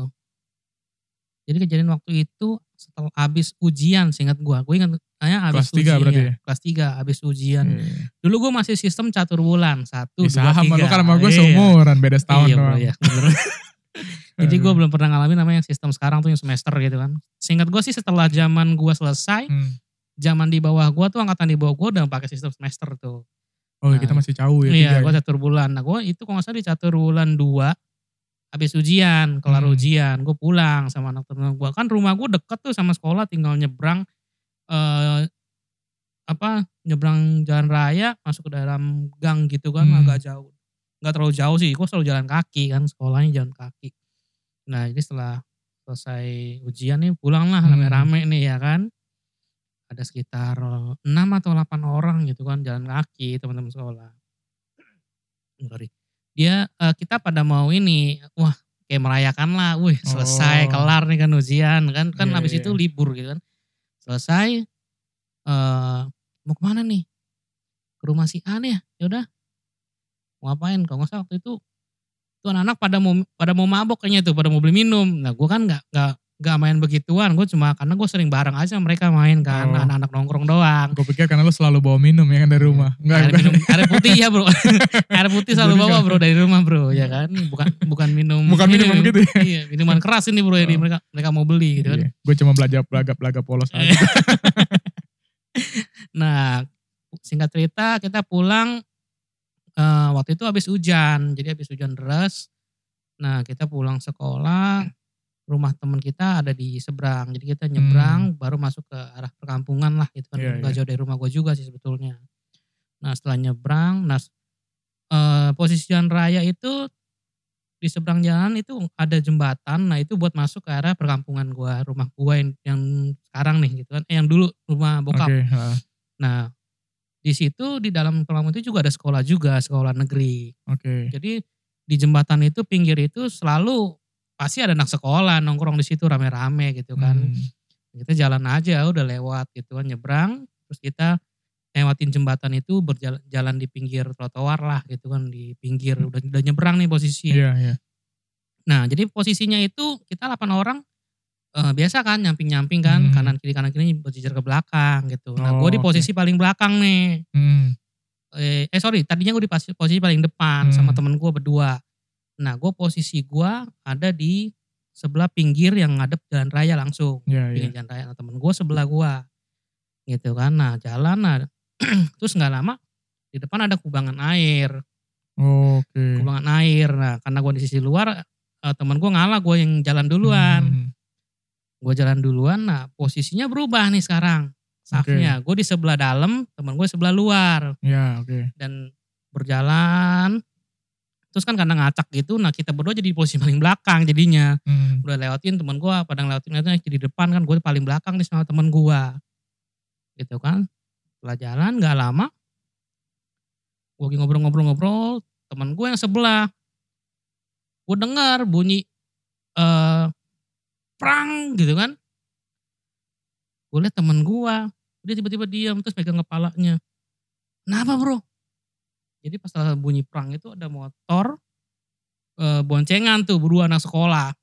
Speaker 2: jadi kejadian waktu itu setelah habis ujian seingat gua. Gue ingat hanya habis
Speaker 1: Kelas tiga
Speaker 2: ujian.
Speaker 1: berarti ya?
Speaker 2: Kelas 3 habis ujian.
Speaker 1: Iya.
Speaker 2: Dulu gue masih sistem catur bulan. Satu,
Speaker 1: Ih,
Speaker 2: dua,
Speaker 1: sama
Speaker 2: tiga.
Speaker 1: lu kan sama gue
Speaker 2: Iya.
Speaker 1: seumuran beda setahun
Speaker 2: Iya, bro,
Speaker 1: doang.
Speaker 2: iya,
Speaker 1: [laughs]
Speaker 2: bener. Jadi gue belum pernah ngalamin namanya yang sistem sekarang tuh yang semester gitu kan. Seingat gue sih setelah zaman gue selesai,
Speaker 1: Hmm.
Speaker 2: zaman di bawah gue tuh angkatan di bawah gue udah pakai sistem semester tuh.
Speaker 1: Oh kita masih jauh ya tiga
Speaker 2: Iya,
Speaker 1: ya.
Speaker 2: gue catur bulan. Nah gue itu kalau nggak salah di catur bulan 2, habis ujian, kelar
Speaker 1: Hmm.
Speaker 2: ujian, gue pulang sama anak temen gue. Kan rumah gue deket tuh sama sekolah, tinggal nyebrang, eh apa, nyebrang jalan raya, masuk ke dalam gang gitu kan,
Speaker 1: Hmm.
Speaker 2: agak jauh. Nggak terlalu jauh sih, gue selalu jalan kaki kan, sekolahnya jalan kaki. Nah jadi setelah selesai ujian nih pulang lah
Speaker 1: Hmm.
Speaker 2: rame-rame nih ya kan. Ada sekitar 6 atau 8 orang gitu kan jalan kaki teman-teman sekolah. Sorry. Dia eh, kita pada mau ini, wah kayak merayakan lah, wih selesai
Speaker 1: Oh.
Speaker 2: kelar nih kan ujian kan kan
Speaker 1: Iya,
Speaker 2: habis
Speaker 1: iya,
Speaker 2: itu
Speaker 1: iya.
Speaker 2: libur gitu kan. Selesai eh mau kemana nih? Ke rumah si A nih ya. Ya udah. Mau ngapain? Kalau nggak salah waktu itu tuh anak-anak pada mau pada mau mabok kayaknya tuh, pada mau beli minum. Nah, gue kan nggak nggak nggak main begituan, gue cuma karena gue sering bareng aja sama mereka main kan,
Speaker 1: Oh.
Speaker 2: anak-anak nongkrong doang.
Speaker 1: Gue pikir karena lu selalu bawa minum ya kan dari rumah. Enggak,
Speaker 2: Air
Speaker 1: bukan.
Speaker 2: Iya. minum, air putih ya bro, air putih selalu
Speaker 1: Jadi
Speaker 2: bawa
Speaker 1: nggak-
Speaker 2: bro dari rumah bro, ya kan, bukan bukan minum,
Speaker 1: [laughs] Bukan minum
Speaker 2: ini,
Speaker 1: gitu ya.
Speaker 2: iya, minuman keras ini bro,
Speaker 1: Oh.
Speaker 2: ini mereka mereka mau beli gitu kan. Iya,
Speaker 1: Gue cuma belajar belaga-belaga polos aja.
Speaker 2: [laughs] Nah, singkat cerita kita pulang eh, waktu itu habis hujan, jadi habis hujan deras. Nah, kita pulang sekolah, rumah teman kita ada di seberang, jadi kita nyebrang baru masuk ke arah perkampungan lah gitu kan,
Speaker 1: Hmm. Iya,
Speaker 2: nggak
Speaker 1: iya.
Speaker 2: jauh dari rumah gue juga sih sebetulnya. Nah, setelah nyebrang, nah s- eh, posisi jalan raya itu di seberang jalan itu ada jembatan, nah itu buat masuk ke arah perkampungan gua, rumah gua yang, yang sekarang nih gitu kan, eh, yang dulu rumah bokap.
Speaker 1: Oke. ha,
Speaker 2: Nah, di situ di dalam kolam itu juga ada sekolah juga, sekolah negeri.
Speaker 1: Oke.
Speaker 2: Jadi di jembatan itu pinggir itu selalu pasti ada anak sekolah nongkrong di situ rame-rame gitu kan.
Speaker 1: Hmm.
Speaker 2: Kita jalan aja udah lewat gitu kan nyebrang, terus kita lewatin jembatan itu berjalan jalan di pinggir trotoar lah gitu kan di pinggir udah, udah nyebrang nih posisi.
Speaker 1: Hmm. Iya iya.
Speaker 2: Nah, jadi posisinya itu kita 8 orang eh, biasa kan nyamping-nyamping kan
Speaker 1: Hmm.
Speaker 2: kanan kiri kanan kiri berjejer ke belakang gitu. Nah,
Speaker 1: Oh,
Speaker 2: gue di
Speaker 1: oke.
Speaker 2: posisi paling belakang nih
Speaker 1: Hmm.
Speaker 2: eh, eh, sorry tadinya gue di pos- posisi paling depan
Speaker 1: Hmm.
Speaker 2: sama temen gue berdua. Nah gue posisi gue ada di sebelah pinggir yang ngadep jalan raya langsung.
Speaker 1: Iya iya.
Speaker 2: Pinggir jalan raya nah, temen gue sebelah gue. Gitu kan. Nah jalan nah, [clears throat] terus nggak lama di depan ada kubangan air.
Speaker 1: Oke.
Speaker 2: Kubangan air. Nah karena gue di sisi luar eh, temen gue ngalah gue yang jalan duluan.
Speaker 1: Hmm.
Speaker 2: Gue jalan duluan nah posisinya berubah nih sekarang. Safnya gue di sebelah dalam temen gue sebelah luar
Speaker 1: Iya oke.
Speaker 2: dan berjalan terus kan karena ngacak gitu nah kita berdua jadi di posisi paling belakang jadinya
Speaker 1: Hmm.
Speaker 2: udah lewatin teman gua pada ngelewatin itu jadi di depan kan gue paling belakang nih sama teman gua gitu kan setelah jalan nggak lama gue lagi ngobrol-ngobrol-ngobrol teman gue yang sebelah gue dengar bunyi eh prang gitu kan gue liat temen gua dia tiba-tiba diam terus pegang kepalanya kenapa bro jadi pas ada bunyi prang itu ada motor eh, boncengan tuh berdua anak sekolah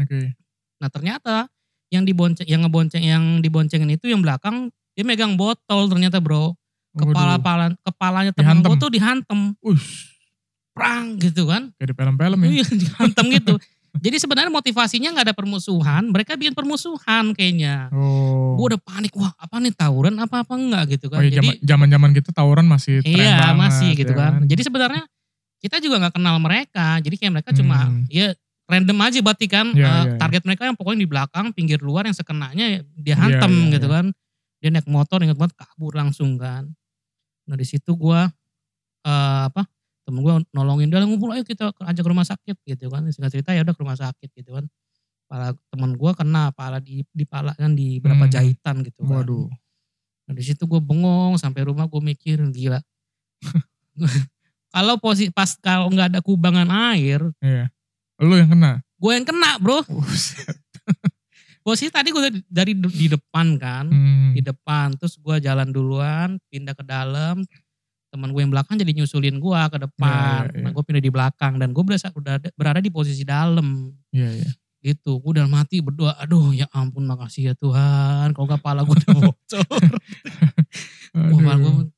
Speaker 1: Oke.
Speaker 2: Nah ternyata yang dibonceng, yang ngebonceng, yang diboncengin itu yang belakang dia megang botol ternyata bro.
Speaker 1: Oh,
Speaker 2: Kepala
Speaker 1: Waduh,
Speaker 2: palan, kepalanya temen
Speaker 1: Dihantem.
Speaker 2: gue tuh dihantem,
Speaker 1: Ush.
Speaker 2: prang gitu kan?
Speaker 1: Kayak di film-film ya.
Speaker 2: Iya [laughs] dihantem gitu. Jadi sebenarnya motivasinya nggak ada permusuhan, mereka bikin permusuhan kayaknya.
Speaker 1: Oh.
Speaker 2: Gue udah panik, wah apa nih tawuran apa apa enggak gitu
Speaker 1: Oh
Speaker 2: kan?
Speaker 1: iya zaman-
Speaker 2: Jadi
Speaker 1: zaman-zaman gitu tawuran masih tren
Speaker 2: iya
Speaker 1: banget,
Speaker 2: masih gitu
Speaker 1: ya
Speaker 2: kan. Jadi sebenarnya kita juga nggak kenal mereka, jadi kayak mereka cuma
Speaker 1: Hmm.
Speaker 2: ya random aja berarti kan
Speaker 1: Iya,
Speaker 2: eh,
Speaker 1: iya,
Speaker 2: target mereka yang pokoknya di belakang pinggir luar yang sekenanya dia hantem
Speaker 1: Iya, iya,
Speaker 2: gitu kan dia naik motor ingat banget kabur langsung kan nah di situ gua eh, apa temen gua nolongin dia "Lah, ngumpul ayo kita ke- ajak ke rumah sakit gitu kan singkat cerita ya udah ke rumah sakit gitu kan para temen gua kena pala di di pala kan di berapa
Speaker 1: Hmm.
Speaker 2: jahitan gitu kan
Speaker 1: Waduh.
Speaker 2: Nah, di situ gue bengong sampai rumah gue mikir gila. [laughs] kalau posisi pas kalau nggak ada kubangan air,
Speaker 1: Iya. Lu yang kena.
Speaker 2: gue yang kena bro.
Speaker 1: Buset.
Speaker 2: [laughs] Posisi tadi gue dari de- di depan kan,
Speaker 1: Hmm.
Speaker 2: di depan. Terus gue jalan duluan, pindah ke dalam. Temen gue yang belakang jadi nyusulin gue ke depan.
Speaker 1: Iya, iya, iya.
Speaker 2: Nah, gue pindah di belakang dan gue berasa udah ada- berada di posisi dalam.
Speaker 1: Iya iya.
Speaker 2: Gitu, gue dalam hati berdoa, aduh ya ampun makasih ya Tuhan, kalau gak pala gue udah bocor. Wah,
Speaker 1: Aduh.
Speaker 2: pala gua-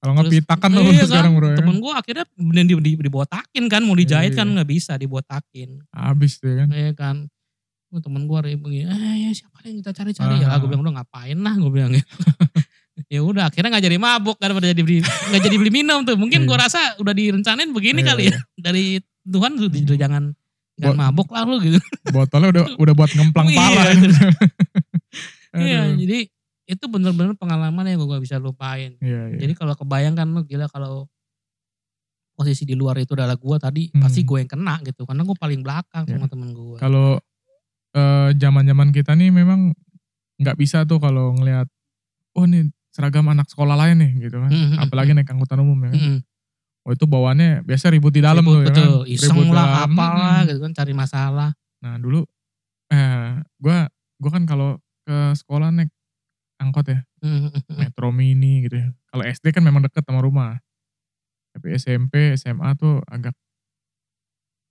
Speaker 1: Kalau nggak
Speaker 2: terus-
Speaker 1: pitakan tuh
Speaker 2: Iya kan,
Speaker 1: [laughs] sekarang bro ya.
Speaker 2: temen gue akhirnya bener di, di, dibotakin kan, mau dijahit
Speaker 1: Iya.
Speaker 2: kan nggak bisa dibotakin.
Speaker 1: Abis tuh ya kan.
Speaker 2: Iya kan, Wah, temen gue ribut gini, eh ya, siapa yang kita cari-cari ya,
Speaker 1: Ah.
Speaker 2: gue bilang udah ngapain lah, gue bilang gitu. [laughs] ya udah akhirnya nggak jadi mabuk daripada jadi beli nggak jadi beli minum tuh mungkin gue rasa udah direncanain begini
Speaker 1: Iya,
Speaker 2: kali ya dari Tuhan tuh udah jangan jangan
Speaker 1: Bo-
Speaker 2: mabuk lah lu gitu
Speaker 1: Botolnya udah udah buat ngemplang
Speaker 2: [laughs] Iya,
Speaker 1: pala.
Speaker 2: itu.
Speaker 1: [laughs] Aduh.
Speaker 2: Iya, jadi itu bener-bener pengalaman yang gue gak bisa lupain.
Speaker 1: Iya, iya.
Speaker 2: Jadi kalau kebayangkan lu gila kalau posisi di luar itu adalah gue tadi
Speaker 1: Hmm.
Speaker 2: pasti gue yang kena gitu karena gue paling belakang
Speaker 1: Iya.
Speaker 2: sama temen gue.
Speaker 1: Kalau eh, zaman-zaman kita nih memang nggak bisa tuh kalau ngelihat oh nih seragam anak sekolah lain nih gitu kan.
Speaker 2: Mm, mm,
Speaker 1: Apalagi naik angkutan umum ya kan.
Speaker 2: Mm-mm.
Speaker 1: Oh itu bawaannya biasa ribut di dalam
Speaker 2: Hmm, Ribut,
Speaker 1: tuh ya
Speaker 2: betul,
Speaker 1: kan.
Speaker 2: iseng
Speaker 1: Ribut
Speaker 2: lah,
Speaker 1: dalam, Hmm.
Speaker 2: apalah
Speaker 1: mm-mm.
Speaker 2: gitu kan cari masalah.
Speaker 1: Nah dulu eh gua gua kan kalau ke sekolah naik angkot ya,
Speaker 2: Mm-mm.
Speaker 1: Metro Mini gitu ya. Kalau SD kan memang deket sama rumah. Tapi SMP, SMA tuh agak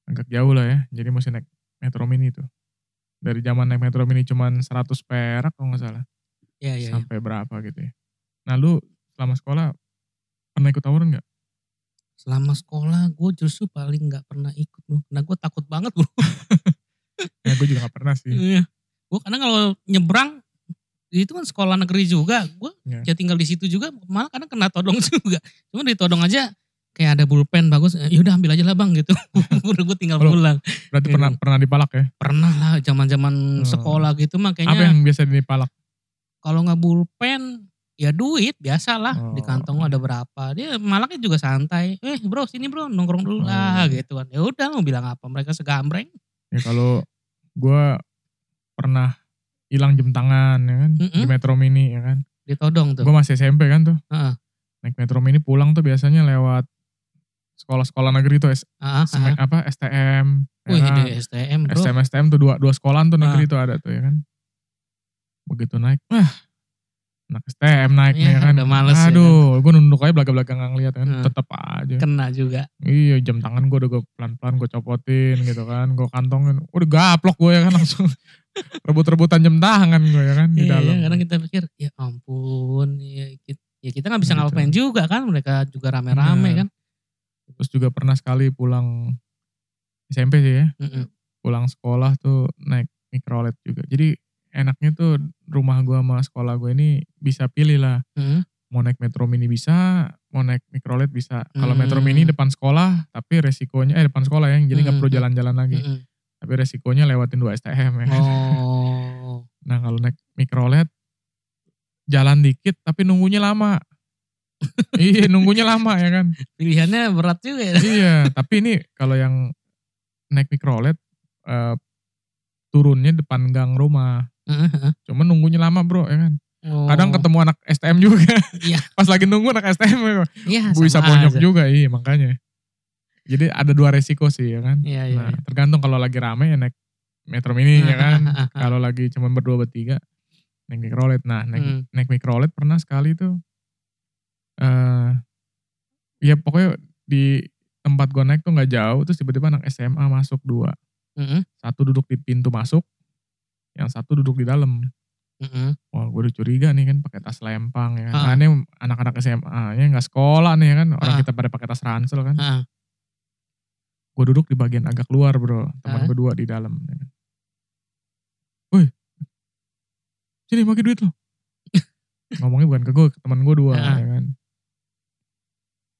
Speaker 1: agak jauh lah ya. Jadi mesti naik Metro Mini tuh. Dari zaman naik Metro Mini cuman 100 perak kalau nggak salah.
Speaker 2: Iya, iya, iya.
Speaker 1: Sampai berapa gitu ya. Nah lu selama sekolah pernah ikut tawuran nggak?
Speaker 2: Selama sekolah gue justru paling nggak pernah ikut bro. Karena gue takut banget bro.
Speaker 1: Nah, gue juga gak pernah sih.
Speaker 2: Iya. Gue karena kalau nyebrang itu kan sekolah negeri juga, gue
Speaker 1: Iya.
Speaker 2: ya tinggal di situ juga, malah kadang kena todong [laughs] juga. Cuma di todong aja kayak ada bulpen bagus, eh, yaudah ambil aja lah bang gitu. [laughs] Udah gue tinggal
Speaker 1: Lu-
Speaker 2: pulang.
Speaker 1: Berarti
Speaker 2: Iya.
Speaker 1: pernah pernah dipalak ya?
Speaker 2: Pernah lah zaman-zaman
Speaker 1: Hmm.
Speaker 2: sekolah gitu
Speaker 1: Apa
Speaker 2: makanya
Speaker 1: yang biasa dipalak?
Speaker 2: kalau nggak bulpen ya duit
Speaker 1: Oh.
Speaker 2: biasalah di kantong ada berapa dia malaknya juga santai eh bro sini bro nongkrong
Speaker 1: Oh,
Speaker 2: dulu lah
Speaker 1: iya.
Speaker 2: gitu kan ya udah mau bilang apa mereka segambreng
Speaker 1: Ya kalau gue pernah hilang jam tangan ya kan di
Speaker 2: Mm-mm.
Speaker 1: Metro Mini ya kan.
Speaker 2: ditodong tuh
Speaker 1: Gue masih SMP kan tuh.
Speaker 2: Heeh.
Speaker 1: Naik metro mini pulang tuh biasanya lewat sekolah-sekolah negeri tuh S-
Speaker 2: ah, ah, ah.
Speaker 1: SME apa STM. ya
Speaker 2: Wih,
Speaker 1: kan?
Speaker 2: di STM bro
Speaker 1: STM STM tuh dua dua sekolahan tuh negeri tuh ada tuh ya kan. Begitu naik, wah anak STM naik nih
Speaker 2: Iya,
Speaker 1: ya kan.
Speaker 2: udah males ya
Speaker 1: Aduh, gue nunduk aja belakang-belakang nggak ngeliat kan,
Speaker 2: Hmm.
Speaker 1: tetep aja.
Speaker 2: kena juga
Speaker 1: Iya jam tangan gue udah gue pelan-pelan gue copotin gitu kan, gue kantongin, udah gaplok gue ya kan [laughs] langsung rebut-rebutan jam tangan gue ya kan di
Speaker 2: Iya,
Speaker 1: dalam.
Speaker 2: iya, kadang kita pikir ya ampun, ya kita, ya kita nggak bisa
Speaker 1: Gitu.
Speaker 2: ngapain juga kan, mereka juga rame-rame
Speaker 1: Bener.
Speaker 2: kan.
Speaker 1: Terus juga pernah sekali pulang SMP sih ya,
Speaker 2: Mm-mm.
Speaker 1: pulang sekolah tuh naik mikrolet juga. Jadi enaknya tuh rumah gua sama sekolah gue ini bisa pilih lah.
Speaker 2: Mm-mm.
Speaker 1: Mau naik metro mini bisa, mau naik mikrolet bisa. Kalau
Speaker 2: Hmm.
Speaker 1: metro mini depan sekolah, tapi resikonya eh depan sekolah ya, jadi nggak perlu
Speaker 2: Hmm.
Speaker 1: jalan-jalan lagi.
Speaker 2: Mm-mm.
Speaker 1: Tapi resikonya lewatin dua STM ya.
Speaker 2: Oh,
Speaker 1: Nah kalau naik mikrolet jalan dikit tapi nunggunya
Speaker 2: [laughs]
Speaker 1: lama. iya nunggunya lama ya kan.
Speaker 2: pilihannya berat juga ya. [laughs]
Speaker 1: iya, tapi ini kalau yang naik mikrolet eh, turunnya depan gang rumah.
Speaker 2: Hmm,
Speaker 1: Cuman nunggunya lama, Bro, ya kan.
Speaker 2: Oh,
Speaker 1: Kadang ketemu anak STM juga.
Speaker 2: Iya.
Speaker 1: [laughs] Pas lagi nunggu anak STM ya,
Speaker 2: ya,
Speaker 1: bisa bonyok juga, iya makanya. Jadi ada dua resiko sih, ya kan.
Speaker 2: Iya, iya.
Speaker 1: Nah, tergantung kalau lagi rame ya naik metro mini
Speaker 2: [laughs]
Speaker 1: ya kan. kalau lagi cuman berdua bertiga naik mikrolet. Nah, naik
Speaker 2: Hmm.
Speaker 1: naik mikrolet pernah sekali tuh eh ya pokoknya di tempat gue naik tuh nggak jauh terus tiba-tiba anak SMA masuk dua
Speaker 2: Mm-mm.
Speaker 1: satu duduk di pintu masuk yang satu duduk di dalam
Speaker 2: Mm-mm.
Speaker 1: wah gue udah curiga nih kan pakai tas lempang ya kan Nah,
Speaker 2: Ah.
Speaker 1: ini anak-anak SMA nya nggak sekolah nih ya kan orang
Speaker 2: Ah.
Speaker 1: kita pada pakai tas ransel kan
Speaker 2: Ah.
Speaker 1: gue duduk di bagian agak luar bro teman
Speaker 2: Ah.
Speaker 1: gue dua di dalam ya kan. woi sini pakai duit
Speaker 2: [laughs]
Speaker 1: lo ngomongnya bukan ke gue ke teman gue dua
Speaker 2: Ah.
Speaker 1: ya kan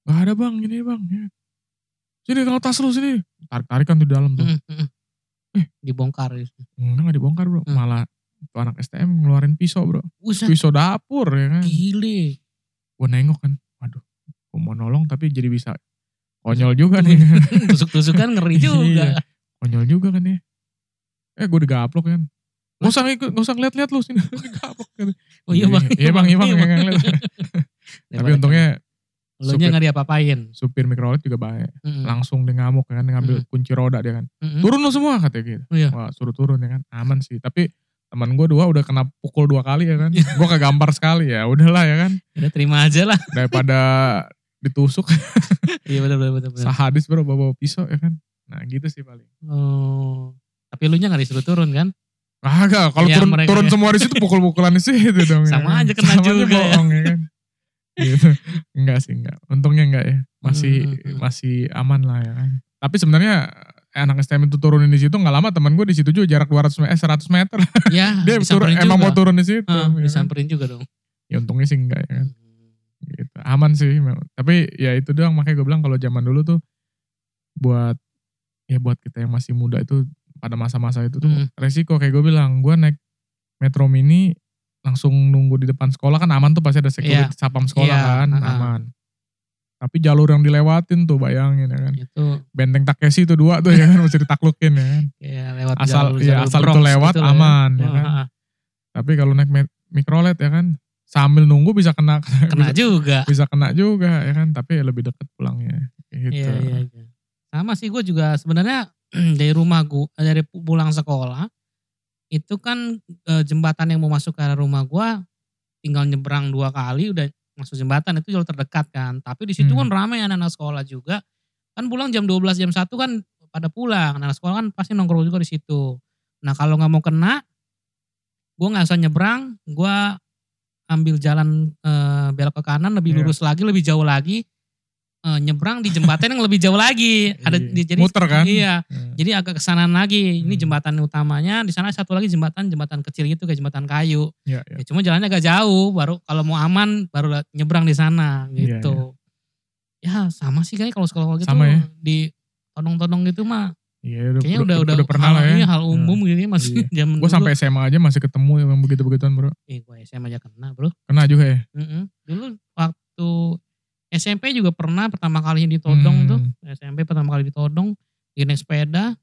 Speaker 1: gak ada bang ini bang ya. sini kalau tas lu sini tarik tarikan tuh di dalam tuh
Speaker 2: Mm-mm. hmm, Eh, Dibongkar. ya.
Speaker 1: enggak nggak dibongkar bro
Speaker 2: Hmm.
Speaker 1: malah tuh anak STM ngeluarin pisau bro
Speaker 2: Usah
Speaker 1: pisau dapur ya kan [laughs]
Speaker 2: gile.
Speaker 1: gue nengok kan waduh gue mau nolong tapi jadi bisa konyol
Speaker 2: Iya.
Speaker 1: juga nih [laughs]
Speaker 2: [laughs] Tusuk-tusukan ngeri juga.
Speaker 1: Iya. Konyol juga kan ya. Eh gue digaplok kan. Gak usah ikut, gak usah ngeliat-liat lu sini. digaplok kan.
Speaker 2: Oh iya bang.
Speaker 1: Iya bang, iya bang. nggak
Speaker 2: [laughs]
Speaker 1: ngeliat. Tapi untungnya
Speaker 2: Lo nya nggak diapa-apain. Hmm,
Speaker 1: supir mikrolet juga baik.
Speaker 2: Mm-mm.
Speaker 1: Langsung dia ngamuk kan, dia ngambil kunci roda dia kan.
Speaker 2: Mm-mm.
Speaker 1: Turun lu semua katanya gitu.
Speaker 2: Hmm. Oh, iya.
Speaker 1: Wah suruh turun ya kan, aman sih. Tapi teman gue dua udah kena pukul dua kali ya
Speaker 2: Iya.
Speaker 1: kan. gue kegampar sekali ya, udahlah ya
Speaker 2: [laughs]
Speaker 1: kan.
Speaker 2: Udah terima aja lah. [laughs]
Speaker 1: Daripada ditusuk,
Speaker 2: Iya benar benar benar. benar.
Speaker 1: sahadis baru bawa pisau ya kan. Nah gitu sih paling.
Speaker 2: Oh. Tapi Tapi lu nya gak disuruh turun
Speaker 1: [laughs]
Speaker 2: kan?
Speaker 1: Kagak, kalau
Speaker 2: Iya,
Speaker 1: turun
Speaker 2: mereka
Speaker 1: turun
Speaker 2: ya.
Speaker 1: semua di situ pukul-pukulan di
Speaker 2: [laughs]
Speaker 1: situ dong.
Speaker 2: Sama
Speaker 1: kan?
Speaker 2: aja kena juga ya.
Speaker 1: bohong ya kan. gitu. Enggak sih, enggak. Untungnya enggak ya. Masih
Speaker 2: Hmm, hmm, hmm.
Speaker 1: masih aman lah ya kan. Tapi sebenarnya eh, anak STM itu turunin di situ nggak lama teman gue di situ juga jarak 200 meter, eh, 100 meter.
Speaker 2: Ya,
Speaker 1: Dia turun,
Speaker 2: disamperin
Speaker 1: emang
Speaker 2: juga.
Speaker 1: mau turun di situ. ya,
Speaker 2: Ah,
Speaker 1: kan.
Speaker 2: disamperin juga dong.
Speaker 1: Ya untungnya sih enggak ya kan. Gitu. Aman sih. memang. Tapi ya itu doang makanya gue bilang kalau zaman dulu tuh buat ya buat kita yang masih muda itu pada masa-masa itu tuh
Speaker 2: Hmm.
Speaker 1: resiko kayak gue bilang gue naik metro mini langsung nunggu di depan sekolah kan aman tuh pasti ada security sapam sekolah
Speaker 2: Iya,
Speaker 1: kan
Speaker 2: ha-ha.
Speaker 1: aman tapi jalur yang dilewatin tuh bayangin ya kan
Speaker 2: Itu
Speaker 1: benteng Takeshi itu dua tuh ya kan [laughs] mesti ditaklukin ya kan
Speaker 2: ya lewat
Speaker 1: asal
Speaker 2: jalur-
Speaker 1: ya
Speaker 2: jalur
Speaker 1: asal
Speaker 2: Bronx
Speaker 1: itu lewat
Speaker 2: gitu lah ya.
Speaker 1: aman ya
Speaker 2: Ah,
Speaker 1: kan
Speaker 2: ah, ah.
Speaker 1: tapi kalau naik met- mikrolet ya kan sambil nunggu bisa kena [laughs]
Speaker 2: Kena
Speaker 1: bisa,
Speaker 2: juga.
Speaker 1: bisa kena juga ya kan tapi ya lebih deket pulangnya gitu
Speaker 2: Iya, iya, iya. Sama sih gue juga sebenarnya [clears throat] dari rumah gue dari pu- pulang sekolah itu kan eh, jembatan yang mau masuk ke arah rumah gue tinggal nyebrang dua kali udah masuk jembatan itu jalur terdekat kan. Tapi di situ
Speaker 1: Hmm.
Speaker 2: kan ramai anak-anak sekolah juga. Kan pulang jam 12 jam 1 kan pada pulang. Anak sekolah kan pasti nongkrong juga di situ. Nah, kalau nggak mau kena gue nggak usah nyebrang, gue ambil jalan eh, belok ke kanan
Speaker 1: Iya.
Speaker 2: lebih lurus lagi, lebih jauh lagi eh, nyebrang di jembatan yang lebih jauh lagi. Ada
Speaker 1: Iya.
Speaker 2: di- jadi
Speaker 1: Muter kan?
Speaker 2: Iya.
Speaker 1: Iya.
Speaker 2: Jadi agak kesanaan lagi. Ini
Speaker 1: Hmm.
Speaker 2: jembatan utamanya, di sana satu lagi jembatan jembatan kecil gitu kayak jembatan kayu.
Speaker 1: Iya, iya.
Speaker 2: Ya, cuma jalannya agak jauh, baru kalau mau aman baru lah nyebrang di sana
Speaker 1: Iya,
Speaker 2: gitu. Ya sama sih kayaknya kalau sekolah gitu
Speaker 1: Sama ya.
Speaker 2: di tonong-tonong gitu mah
Speaker 1: Iya,
Speaker 2: kayaknya udah udah,
Speaker 1: pernah
Speaker 2: hal,
Speaker 1: lah ya.
Speaker 2: iya, hal umum gitu ya, masih zaman
Speaker 1: Gue sampai SMA aja masih ketemu yang begitu-begituan bro.
Speaker 2: eh, gue SMA aja kena, Bro.
Speaker 1: Kena juga ya.
Speaker 2: Mm-mm. Dulu waktu SMP juga pernah pertama kali
Speaker 1: Hmm.
Speaker 2: ditodong tuh. SMP pertama kali ditodong, dia naik sepeda,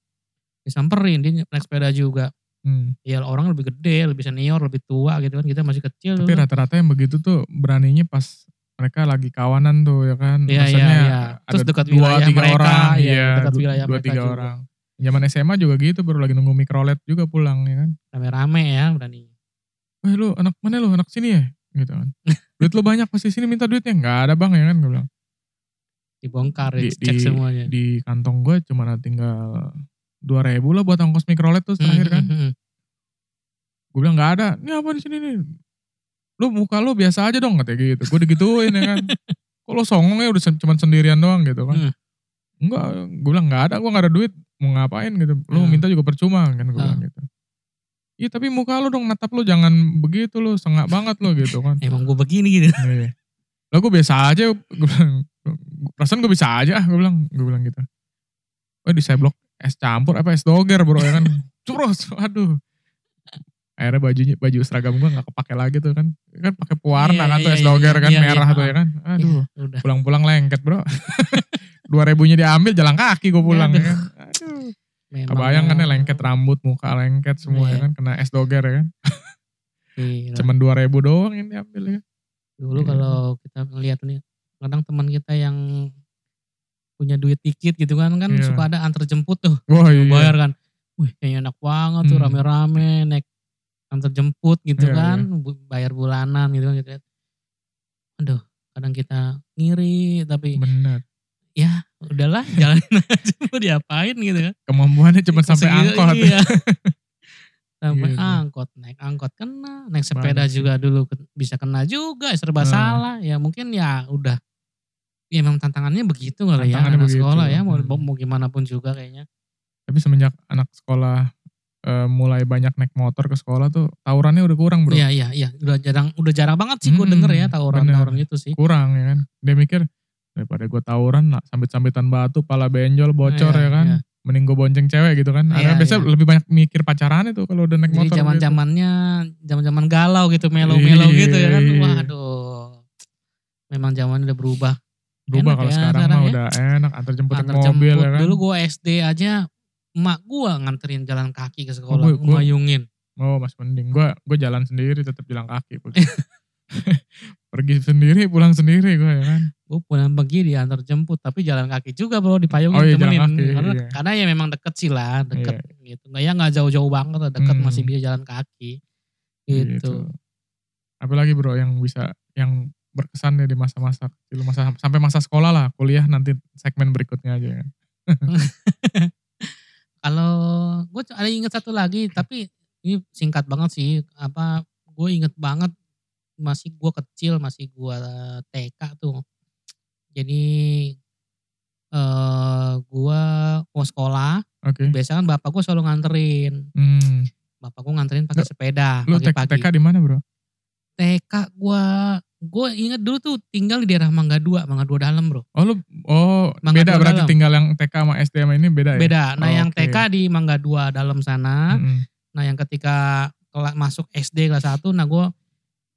Speaker 2: disamperin, dia naik sepeda juga.
Speaker 1: Hmm.
Speaker 2: Ya orang lebih gede, lebih senior, lebih tua gitu kan. Kita masih kecil.
Speaker 1: Tapi
Speaker 2: dulu.
Speaker 1: rata-rata yang begitu tuh beraninya pas mereka lagi kawanan tuh ya kan.
Speaker 2: Iya,
Speaker 1: Maksudnya
Speaker 2: iya, iya.
Speaker 1: ada
Speaker 2: Terus dekat
Speaker 1: dua,
Speaker 2: wilayah
Speaker 1: tiga
Speaker 2: mereka,
Speaker 1: orang.
Speaker 2: iya,
Speaker 1: Iya,
Speaker 2: dekat
Speaker 1: du-
Speaker 2: wilayah
Speaker 1: dua,
Speaker 2: mereka
Speaker 1: tiga
Speaker 2: juga.
Speaker 1: orang. Zaman SMA juga gitu baru lagi nunggu mikrolet juga pulang ya kan.
Speaker 2: Rame-rame ya berani.
Speaker 1: Weh lu anak mana lu anak sini ya gitu
Speaker 2: [laughs]
Speaker 1: kan. Duit lu banyak pasti sini minta duitnya. Enggak ada bang ya kan gue bilang.
Speaker 2: Dibongkar,
Speaker 1: Di-
Speaker 2: dicek
Speaker 1: di-
Speaker 2: semuanya.
Speaker 1: Di kantong gue cuma tinggal dua ribu lah buat ongkos mikrolet terus terakhir kan.
Speaker 2: Mm-mm.
Speaker 1: gue bilang nggak ada ini apa di sini nih lu muka lu biasa aja dong katanya gitu gue digituin ya
Speaker 2: [laughs]
Speaker 1: kan kok lo songong ya udah sen- cuman sendirian doang gitu kan
Speaker 2: Hmm.
Speaker 1: enggak gue bilang nggak ada gue nggak ada duit mau ngapain gitu lu
Speaker 2: Hmm.
Speaker 1: minta juga percuma kan gue
Speaker 2: Ah.
Speaker 1: bilang gitu iya tapi muka lu dong natap lu jangan begitu lu sengak banget lo gitu kan
Speaker 2: [laughs] Emang gue begini gitu.
Speaker 1: Iya. Lah gue biasa aja, gue bilang, perasaan gue bisa aja, ah, gue bilang, gue bilang gitu. Oh di saya blok es campur apa es doger bro ya kan, [laughs] curos, aduh. Akhirnya bajunya baju seragam gue nggak kepake lagi tuh kan, kan pakai pewarna
Speaker 2: Iya,
Speaker 1: kan tuh
Speaker 2: iya,
Speaker 1: es doger
Speaker 2: iya,
Speaker 1: kan
Speaker 2: iya,
Speaker 1: merah
Speaker 2: iya,
Speaker 1: tuh ya kan, aduh.
Speaker 2: Ya, [laughs] udah.
Speaker 1: Pulang-pulang lengket bro, [laughs] dua ribunya diambil jalan kaki gue pulang ya kan. Aduh.
Speaker 2: Memang
Speaker 1: Kebayang kan ya lengket rambut, muka lengket semua ya
Speaker 2: Iya.
Speaker 1: kan, kena es doger ya kan.
Speaker 2: Gila.
Speaker 1: Cuman dua ribu doang yang diambil ya.
Speaker 2: Iya. Dulu
Speaker 1: Iya.
Speaker 2: kalau kita ngeliat nih, kadang teman kita yang punya duit dikit gitu kan kan
Speaker 1: Iya.
Speaker 2: suka ada antar jemput tuh
Speaker 1: Wah iya.
Speaker 2: Lu bayar kan. Wih kayaknya enak banget tuh
Speaker 1: Hmm.
Speaker 2: rame-rame naik antar jemput gitu
Speaker 1: Iya,
Speaker 2: kan. bu- Bayar bulanan gitu kan. Gitu. Aduh kadang kita ngiri tapi
Speaker 1: Bener.
Speaker 2: udahlah jalanin [laughs] aja mau diapain gitu kan.
Speaker 1: kemampuannya cuma sampai
Speaker 2: Segitu-
Speaker 1: angkot.
Speaker 2: Iya. sampai
Speaker 1: [laughs] Iya, iya.
Speaker 2: angkot naik angkot kena naik sepeda juga dulu ke- bisa kena juga
Speaker 1: Nah.
Speaker 2: serba salah ya mungkin ya udah ya memang tantangannya begitu kali ya
Speaker 1: Tantangannya
Speaker 2: anak
Speaker 1: begitu.
Speaker 2: sekolah ya mau,
Speaker 1: Hmm.
Speaker 2: mau gimana pun juga kayaknya
Speaker 1: Tapi semenjak anak sekolah eh, mulai banyak naik motor ke sekolah tuh tawurannya udah kurang bro.
Speaker 2: Iya iya iya udah jarang udah jarang banget sih gue
Speaker 1: Hmm,
Speaker 2: denger ya tawuran
Speaker 1: bener.
Speaker 2: tawuran itu sih.
Speaker 1: Kurang ya kan. Dia mikir daripada gue tawuran lah sambit-sambitan batu, pala benjol, bocor
Speaker 2: Iya,
Speaker 1: ya kan.
Speaker 2: iya.
Speaker 1: Mending gue bonceng cewek gitu kan. Ada
Speaker 2: Iya,
Speaker 1: biasanya
Speaker 2: iya.
Speaker 1: lebih banyak mikir pacaran itu kalau udah naik
Speaker 2: Jadi
Speaker 1: motor. gitu.
Speaker 2: zaman zamannya zaman zaman galau gitu melo melo
Speaker 1: Iya,
Speaker 2: gitu ya kan.
Speaker 1: iya.
Speaker 2: Waduh memang zaman udah berubah.
Speaker 1: gitu. Berubah
Speaker 2: enak
Speaker 1: kalau
Speaker 2: ya
Speaker 1: sekarang,
Speaker 2: sekarang
Speaker 1: mah
Speaker 2: ya.
Speaker 1: udah enak antar jemput naik
Speaker 2: Antar
Speaker 1: mobil
Speaker 2: jemput
Speaker 1: ya kan.
Speaker 2: dulu gue SD aja emak gue nganterin jalan kaki ke sekolah
Speaker 1: Oh, gua- gua-
Speaker 2: ngemayungin.
Speaker 1: Oh mas mending gue gue jalan sendiri tetap jalan kaki. [laughs] Pergi sendiri pulang sendiri gue ya kan.
Speaker 2: Gue pulang pergi diantar jemput tapi jalan kaki juga bro dipayungin
Speaker 1: Oh, iya,
Speaker 2: temenin.
Speaker 1: jalan kaki,
Speaker 2: karena,
Speaker 1: iya.
Speaker 2: karena ya memang deket sih lah deket gitu. Nggak ya nggak jauh-jauh banget lah, deket
Speaker 1: Hmm.
Speaker 2: masih bisa jalan kaki gitu.
Speaker 1: Apalagi bro yang bisa yang berkesan ya di masa-masa kecil masa sampai masa sekolah lah kan. kuliah nanti segmen berikutnya aja ya.
Speaker 2: Kalau gue gue ada inget satu lagi tapi ini singkat banget sih apa gue inget banget masih gue kecil masih gue TK tuh jadi eh gue mau sekolah
Speaker 1: Oke.
Speaker 2: biasanya kan bapak gue selalu nganterin
Speaker 1: Hmm.
Speaker 2: bapak gue nganterin pakai
Speaker 1: Lu-
Speaker 2: sepeda
Speaker 1: Lu TK,
Speaker 2: pagi-pagi
Speaker 1: TK di mana bro?
Speaker 2: TK gue gue inget dulu tuh tinggal di daerah Mangga 2 Mangga 2 dalam bro
Speaker 1: Oh lu, oh
Speaker 2: Mangga
Speaker 1: beda
Speaker 2: Dua
Speaker 1: berarti
Speaker 2: Dalam.
Speaker 1: tinggal yang TK sama SD sama ini beda ya? Hmm,
Speaker 2: beda nah
Speaker 1: Oh,
Speaker 2: yang
Speaker 1: oke.
Speaker 2: TK di Mangga 2 dalam sana
Speaker 1: Mm-mm.
Speaker 2: Nah yang ketika kela- masuk SD kelas 1 nah gue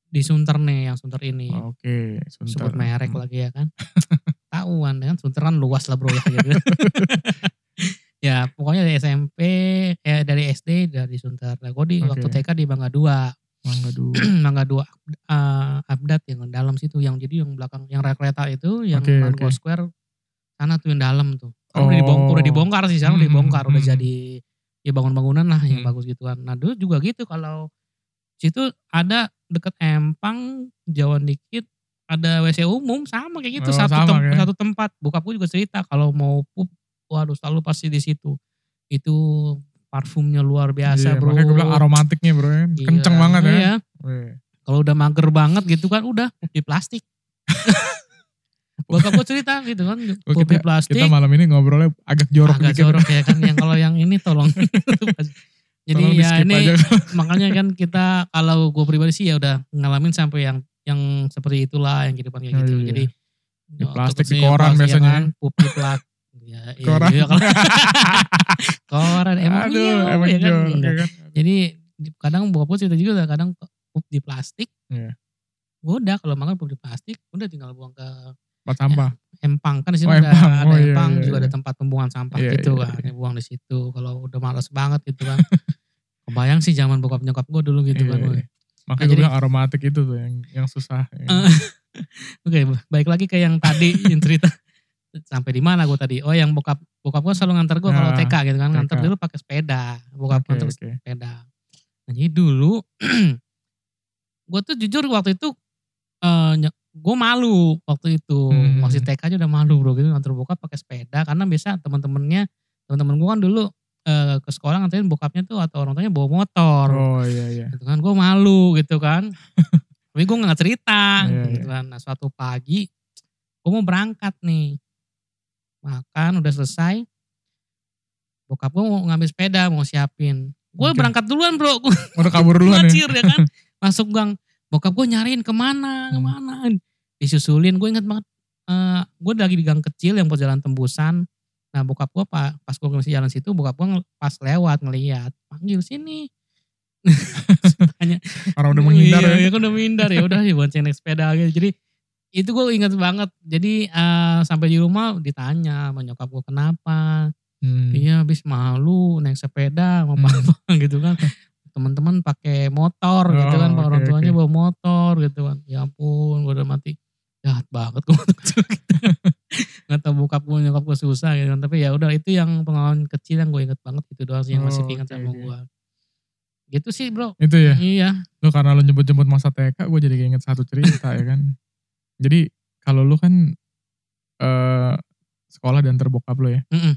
Speaker 2: di Sunter nih yang Sunter ini.
Speaker 1: Oh, Oke.
Speaker 2: Iya. Sebut
Speaker 1: sebentar.
Speaker 2: merek
Speaker 1: Mm.
Speaker 2: lagi ya kan. [laughs] Tahuan kan Sunter kan luas lah bro ya.
Speaker 1: [laughs]
Speaker 2: gitu. ya pokoknya dari SMP, eh, dari SD dari Sunter. Nah gue di
Speaker 1: Oke.
Speaker 2: waktu TK di Bangga 2.
Speaker 1: Mangga dua.
Speaker 2: [clears throat] Bangga 2 eh, update yang dalam situ. Yang jadi yang belakang, yang rel kereta itu, yang
Speaker 1: Oke,
Speaker 2: Mango
Speaker 1: oke.
Speaker 2: Square. Sana tuh yang dalam tuh. Kan udah, dibongkar,
Speaker 1: Oh.
Speaker 2: udah dibongkar sih, sekarang udah
Speaker 1: Hmm,
Speaker 2: dibongkar. Udah
Speaker 1: hmm.
Speaker 2: jadi ya bangun-bangunan lah yang
Speaker 1: Hmm.
Speaker 2: bagus gituan. Nah dulu juga gitu kalau situ ada deket empang jauhan dikit ada WC umum sama kayak gitu
Speaker 1: Oh,
Speaker 2: satu
Speaker 1: sama
Speaker 2: tem-
Speaker 1: kayak.
Speaker 2: satu tempat bokapku juga cerita kalau mau pup waduh selalu pasti di situ itu parfumnya luar biasa
Speaker 1: Iya,
Speaker 2: bro
Speaker 1: Makanya gue bilang aromatiknya bro ya.
Speaker 2: Gila.
Speaker 1: Kenceng banget ya.
Speaker 2: Iya.
Speaker 1: Weh.
Speaker 2: kalau udah mager banget gitu kan udah di
Speaker 1: [laughs]
Speaker 2: plastik bokapku cerita gitu kan
Speaker 1: Oh,
Speaker 2: di plastik
Speaker 1: Kita malam ini ngobrolnya agak jorok
Speaker 2: agak
Speaker 1: dikit.
Speaker 2: jorok ya kan yang kalau yang ini
Speaker 1: [laughs]
Speaker 2: tolong jadi
Speaker 1: Tolong
Speaker 2: ya
Speaker 1: di-skip
Speaker 2: ini
Speaker 1: aja.
Speaker 2: [laughs] makanya kan kita kalau gue pribadi sih ya udah ngalamin sampai yang yang seperti itulah yang kehidupan kayak
Speaker 1: Oh,
Speaker 2: gitu
Speaker 1: iya.
Speaker 2: jadi
Speaker 1: Di
Speaker 2: waktu
Speaker 1: plastik, di
Speaker 2: kecil,
Speaker 1: koran
Speaker 2: plastik, ya
Speaker 1: biasanya
Speaker 2: kan, pup di plat [laughs] ya, iya,
Speaker 1: Koran.
Speaker 2: iya,
Speaker 1: [laughs]
Speaker 2: kalau- koran emang
Speaker 1: Aduh,
Speaker 2: iya,
Speaker 1: emang
Speaker 2: ya kan?
Speaker 1: jorok ya kan.
Speaker 2: jadi di- kadang bawa pun cerita juga kadang pup di plastik
Speaker 1: Iya.
Speaker 2: udah kalau makan pup di plastik udah tinggal buang ke
Speaker 1: Tempat sampah.
Speaker 2: empang kan di
Speaker 1: Oh,
Speaker 2: sini ada,
Speaker 1: empang.
Speaker 2: ada
Speaker 1: Oh, iya,
Speaker 2: empang
Speaker 1: iya,
Speaker 2: juga
Speaker 1: iya.
Speaker 2: ada tempat pembuangan sampah
Speaker 1: Iya,
Speaker 2: gitu
Speaker 1: iya,
Speaker 2: kan dibuang di situ kalau udah malas banget gitu
Speaker 1: [laughs]
Speaker 2: kan kebayang sih zaman bokap nyokap gue dulu gitu
Speaker 1: Iya,
Speaker 2: kan
Speaker 1: iya.
Speaker 2: woy.
Speaker 1: Makanya
Speaker 2: Nah,
Speaker 1: gue
Speaker 2: jadi- Eh,
Speaker 1: bilang aromatik itu tuh yang yang susah. ya.
Speaker 2: oke baik lagi ke yang
Speaker 1: [laughs]
Speaker 2: tadi yang cerita sampai di mana gue tadi oh yang bokap bokap gue selalu nganter gue kalau
Speaker 1: Nah,
Speaker 2: TK gitu kan nganter
Speaker 1: TK.
Speaker 2: dulu pakai sepeda bokap
Speaker 1: Oke,
Speaker 2: nganter
Speaker 1: oke.
Speaker 2: sepeda nah, jadi dulu [clears throat] gue tuh jujur waktu itu gue malu waktu itu
Speaker 1: Hmm.
Speaker 2: masih TK aja udah malu bro gitu nganter bokap pakai sepeda karena biasa teman-temannya teman-teman gue kan dulu eh, ke sekolah nganterin bokapnya tuh atau orang tuanya bawa motor
Speaker 1: Oh iya iya.
Speaker 2: gitu kan gue malu gitu
Speaker 1: [laughs]
Speaker 2: kan tapi gue nggak cerita
Speaker 1: Iya,
Speaker 2: gitu kan nah suatu pagi gue mau berangkat nih makan udah selesai bokap gue mau ngambil sepeda mau siapin gue
Speaker 1: Oke.
Speaker 2: berangkat duluan bro
Speaker 1: Udah kabur duluan ya.
Speaker 2: ngacir ya
Speaker 1: [laughs]
Speaker 2: kan masuk gang bokap gue nyariin kemana
Speaker 1: Hmm.
Speaker 2: kemana disusulin gue ingat banget eh gue lagi di gang kecil yang buat jalan tembusan nah bokap gue pa- pas gue masih jalan situ bokap gue ngel- pas lewat ngeliat panggil sini
Speaker 1: Orang udah menghindar
Speaker 2: iya,
Speaker 1: ya.
Speaker 2: iya, kan udah menghindar ya udah ya bonceng naik sepeda gitu jadi itu gue ingat banget jadi eh, sampai di rumah ditanya sama nyokap gue kenapa
Speaker 1: Hmm.
Speaker 2: Iya habis malu naik sepeda sama
Speaker 1: Hmm.
Speaker 2: bapak [laughs] gitu kan. Teman-teman pakai motor gitu
Speaker 1: Oh,
Speaker 2: kan, Pak, orang
Speaker 1: oke,
Speaker 2: tuanya
Speaker 1: oke.
Speaker 2: bawa motor gitu kan. Ya ampun, gue udah mati. Jahat banget [laughs] gue Gak tau bokap gue nyokap gue susah gitu kan. Tapi ya udah itu yang pengalaman kecil yang gue inget banget gitu doang sih yang masih
Speaker 1: Oh,
Speaker 2: ingat
Speaker 1: oke,
Speaker 2: sama
Speaker 1: oke.
Speaker 2: gue. Gitu sih bro.
Speaker 1: Itu ya.
Speaker 2: Iya.
Speaker 1: Lu karena lu nyebut-nyebut masa TK, gue jadi keinget satu cerita ya kan. Jadi kalau lu kan eh sekolah diantar bokap lu ya.
Speaker 2: Mm-mm.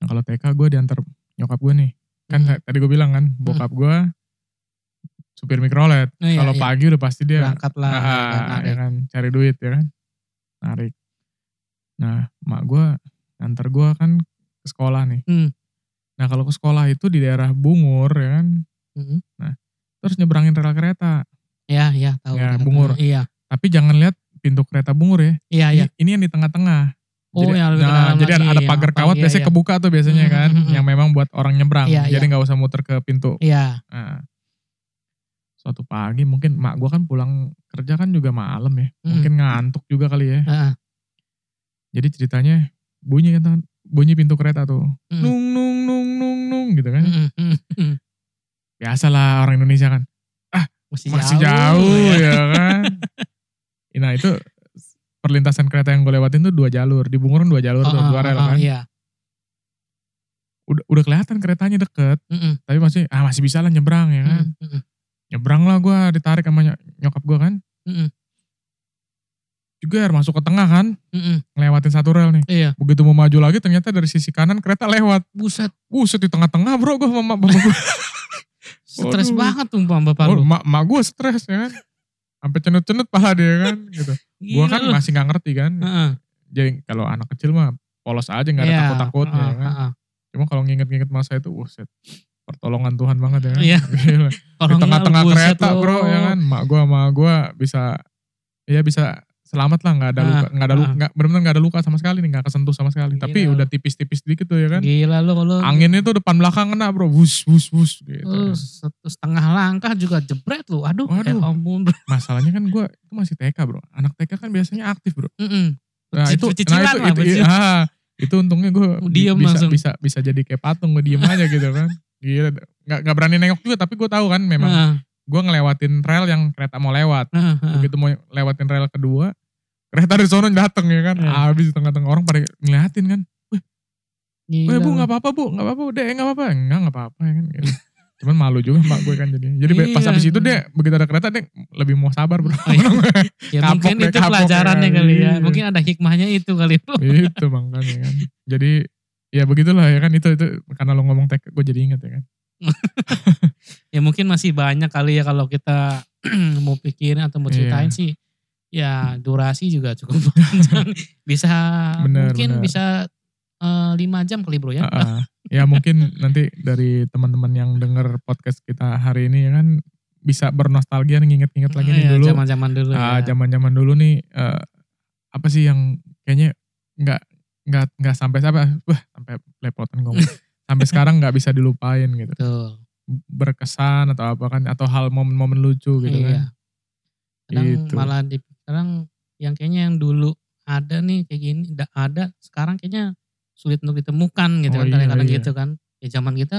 Speaker 1: Nah, kalau TK gue diantar nyokap gue nih. Kan
Speaker 2: Mm.
Speaker 1: tadi gue bilang kan, bokap gue supir mikrolet.
Speaker 2: Oh, iya,
Speaker 1: kalau
Speaker 2: iya.
Speaker 1: pagi udah pasti dia
Speaker 2: berangkat lah.
Speaker 1: Ah,
Speaker 2: kan,
Speaker 1: ya
Speaker 2: narik.
Speaker 1: kan cari duit ya kan narik nah mak gua antar gua kan ke sekolah nih
Speaker 2: Hmm.
Speaker 1: nah kalau ke sekolah itu di daerah Bungur ya kan
Speaker 2: Mm-mm.
Speaker 1: terus nyebrangin rel kereta
Speaker 2: Iya, iya tahu.
Speaker 1: Ya,
Speaker 2: Berangkat
Speaker 1: bungur.
Speaker 2: lah. Iya.
Speaker 1: tapi jangan lihat pintu kereta Bungur ya
Speaker 2: Iya, iya.
Speaker 1: ini, ini yang di tengah-tengah
Speaker 2: Oh,
Speaker 1: jadi,
Speaker 2: yang lebih ke
Speaker 1: nah,
Speaker 2: dalam
Speaker 1: jadi
Speaker 2: lagi,
Speaker 1: ada
Speaker 2: yang
Speaker 1: pagar
Speaker 2: apa,
Speaker 1: kawat
Speaker 2: iya,
Speaker 1: biasanya
Speaker 2: iya.
Speaker 1: kebuka tuh biasanya
Speaker 2: Hmm,
Speaker 1: kan
Speaker 2: hmm, hmm.
Speaker 1: yang memang buat orang nyebrang
Speaker 2: Iya,
Speaker 1: jadi nggak usah muter ke pintu
Speaker 2: Iya.
Speaker 1: Nah, suatu pagi mungkin mak gua kan pulang kerja kan juga malam ya
Speaker 2: Hmm.
Speaker 1: mungkin ngantuk juga kali ya
Speaker 2: Heeh.
Speaker 1: Jadi ceritanya bunyi kan tangan- bunyi pintu kereta tuh.
Speaker 2: Mm.
Speaker 1: Nung nung nung nung nung gitu kan.
Speaker 2: Mm-mm, mm-mm.
Speaker 1: Biasalah orang Indonesia kan. Masih
Speaker 2: [laughs]
Speaker 1: jauh,
Speaker 2: Iya.
Speaker 1: ya. kan. nah itu perlintasan kereta yang gue lewatin tuh dua jalur. Di Bungur kan dua jalur tuh, dua rel kan.
Speaker 2: Iya.
Speaker 1: Udah, udah kelihatan keretanya deket.
Speaker 2: Mm-mm.
Speaker 1: Tapi masih ah masih bisa lah nyebrang ya
Speaker 2: Hmm.
Speaker 1: kan.
Speaker 2: Mm-mm. Hmm.
Speaker 1: Nyebrang lah gue ditarik sama nyok- nyokap gue kan.
Speaker 2: Mm-mm.
Speaker 1: Juga masuk ke tengah kan,
Speaker 2: Mm-mm.
Speaker 1: ngelewatin satu rel nih.
Speaker 2: Iya.
Speaker 1: Begitu mau maju lagi ternyata dari sisi kanan kereta lewat.
Speaker 2: Buset.
Speaker 1: Buset di tengah-tengah bro gue sama bapak gue.
Speaker 2: Stres
Speaker 1: Waduh.
Speaker 2: banget tuh sama bapak lu.
Speaker 1: mak, mak gue stres ya kan. Sampai cenut-cenut pala dia kan gitu. Gue
Speaker 2: Gila
Speaker 1: kan
Speaker 2: lu.
Speaker 1: masih gak ngerti kan.
Speaker 2: Heeh.
Speaker 1: Jadi kalau anak kecil mah polos aja gak ada
Speaker 2: Iya,
Speaker 1: takut-takutnya ya
Speaker 2: heeh,
Speaker 1: kan.
Speaker 2: heeh.
Speaker 1: Cuma kalau nginget-nginget masa itu, buset. Pertolongan Tuhan banget ya kan.
Speaker 2: Iya.
Speaker 1: [laughs] Gila. di
Speaker 2: Orangnya
Speaker 1: tengah-tengah
Speaker 2: buset
Speaker 1: kereta
Speaker 2: lu.
Speaker 1: bro ya kan mak gua sama gua bisa ya bisa selamat lah nggak ada
Speaker 2: Ah,
Speaker 1: luka nggak ada luka
Speaker 2: ah.
Speaker 1: nggak benar-benar nggak ada luka sama sekali nih nggak kesentuh sama sekali
Speaker 2: Gila
Speaker 1: tapi
Speaker 2: lu.
Speaker 1: udah tipis-tipis dikit tuh ya kan
Speaker 2: Gila lu kalau
Speaker 1: anginnya tuh depan belakang kena bro wus wus wus gitu ya.
Speaker 2: lu satu setengah langkah juga jebret lu. Aduh,
Speaker 1: Waduh.
Speaker 2: ya ampun. bro.
Speaker 1: masalahnya kan gua itu masih TK bro anak TK kan biasanya aktif bro
Speaker 2: Mm-mm.
Speaker 1: nah
Speaker 2: Ci-
Speaker 1: itu
Speaker 2: cicilan
Speaker 1: nah itu
Speaker 2: lah,
Speaker 1: itu,
Speaker 2: cicilan.
Speaker 1: [laughs] ah, itu untungnya gua
Speaker 2: Diem
Speaker 1: bisa
Speaker 2: langsung.
Speaker 1: bisa bisa jadi kayak patung gua diem aja gitu
Speaker 2: [laughs]
Speaker 1: kan gila nggak nggak berani nengok juga tapi gua tahu kan memang
Speaker 2: Heeh,
Speaker 1: gua ngelewatin rel yang kereta mau lewat
Speaker 2: heeh, heeh.
Speaker 1: begitu mau lewatin rel kedua kereta dari sono dateng ya kan
Speaker 2: Iya.
Speaker 1: habis di tengah-tengah orang pada ngeliatin kan
Speaker 2: Gila
Speaker 1: weh bu
Speaker 2: lu.
Speaker 1: nggak apa-apa bu nggak apa-apa dek nggak apa-apa enggak nggak apa-apa ya kan
Speaker 2: [laughs]
Speaker 1: gitu. cuman malu juga mak gue kan jadi jadi be- pas
Speaker 2: Iya.
Speaker 1: habis itu dek begitu ada kereta dek lebih mau sabar bro
Speaker 2: Oh, [laughs] iya. Ya
Speaker 1: Kapok
Speaker 2: mungkin
Speaker 1: deh,
Speaker 2: itu
Speaker 1: kapok
Speaker 2: pelajarannya
Speaker 1: ya.
Speaker 2: kali ya.
Speaker 1: Iya.
Speaker 2: Mungkin ada hikmahnya itu kali itu.
Speaker 1: itu makanya kan jadi ya begitulah ya kan itu itu karena lo ngomong tek gue jadi ingat ya kan
Speaker 2: Ya mungkin masih banyak kali ya kalau kita [clears throat] mau pikirin atau mau ceritain
Speaker 1: Iya.
Speaker 2: sih. Ya durasi juga cukup [laughs] panjang. bisa
Speaker 1: Benar,
Speaker 2: mungkin
Speaker 1: benar.
Speaker 2: bisa eh, lima jam kali bro ya.
Speaker 1: Ah,
Speaker 2: [laughs]
Speaker 1: ah. ya mungkin nanti dari teman-teman yang denger podcast kita hari ini ya kan bisa bernostalgia nih, nginget-nginget lagi nih
Speaker 2: Iya,
Speaker 1: dulu
Speaker 2: Zaman-zaman dulu
Speaker 1: Ah,
Speaker 2: ya.
Speaker 1: zaman-zaman dulu nih eh, apa sih yang kayaknya nggak nggak nggak sampai sampai wah sampai lepotan ngomong.
Speaker 2: [laughs]
Speaker 1: sampai sekarang nggak bisa dilupain gitu.
Speaker 2: Betul.
Speaker 1: Berkesan atau apa kan atau hal momen-momen lucu gitu
Speaker 2: iya.
Speaker 1: kan.
Speaker 2: Kadang
Speaker 1: Gitu.
Speaker 2: malah di sekarang yang kayaknya yang dulu ada nih kayak gini, nggak ada sekarang kayaknya sulit untuk ditemukan gitu
Speaker 1: Oh
Speaker 2: kan
Speaker 1: iya,
Speaker 2: kadang-kadang
Speaker 1: iya.
Speaker 2: gitu kan. Ya zaman kita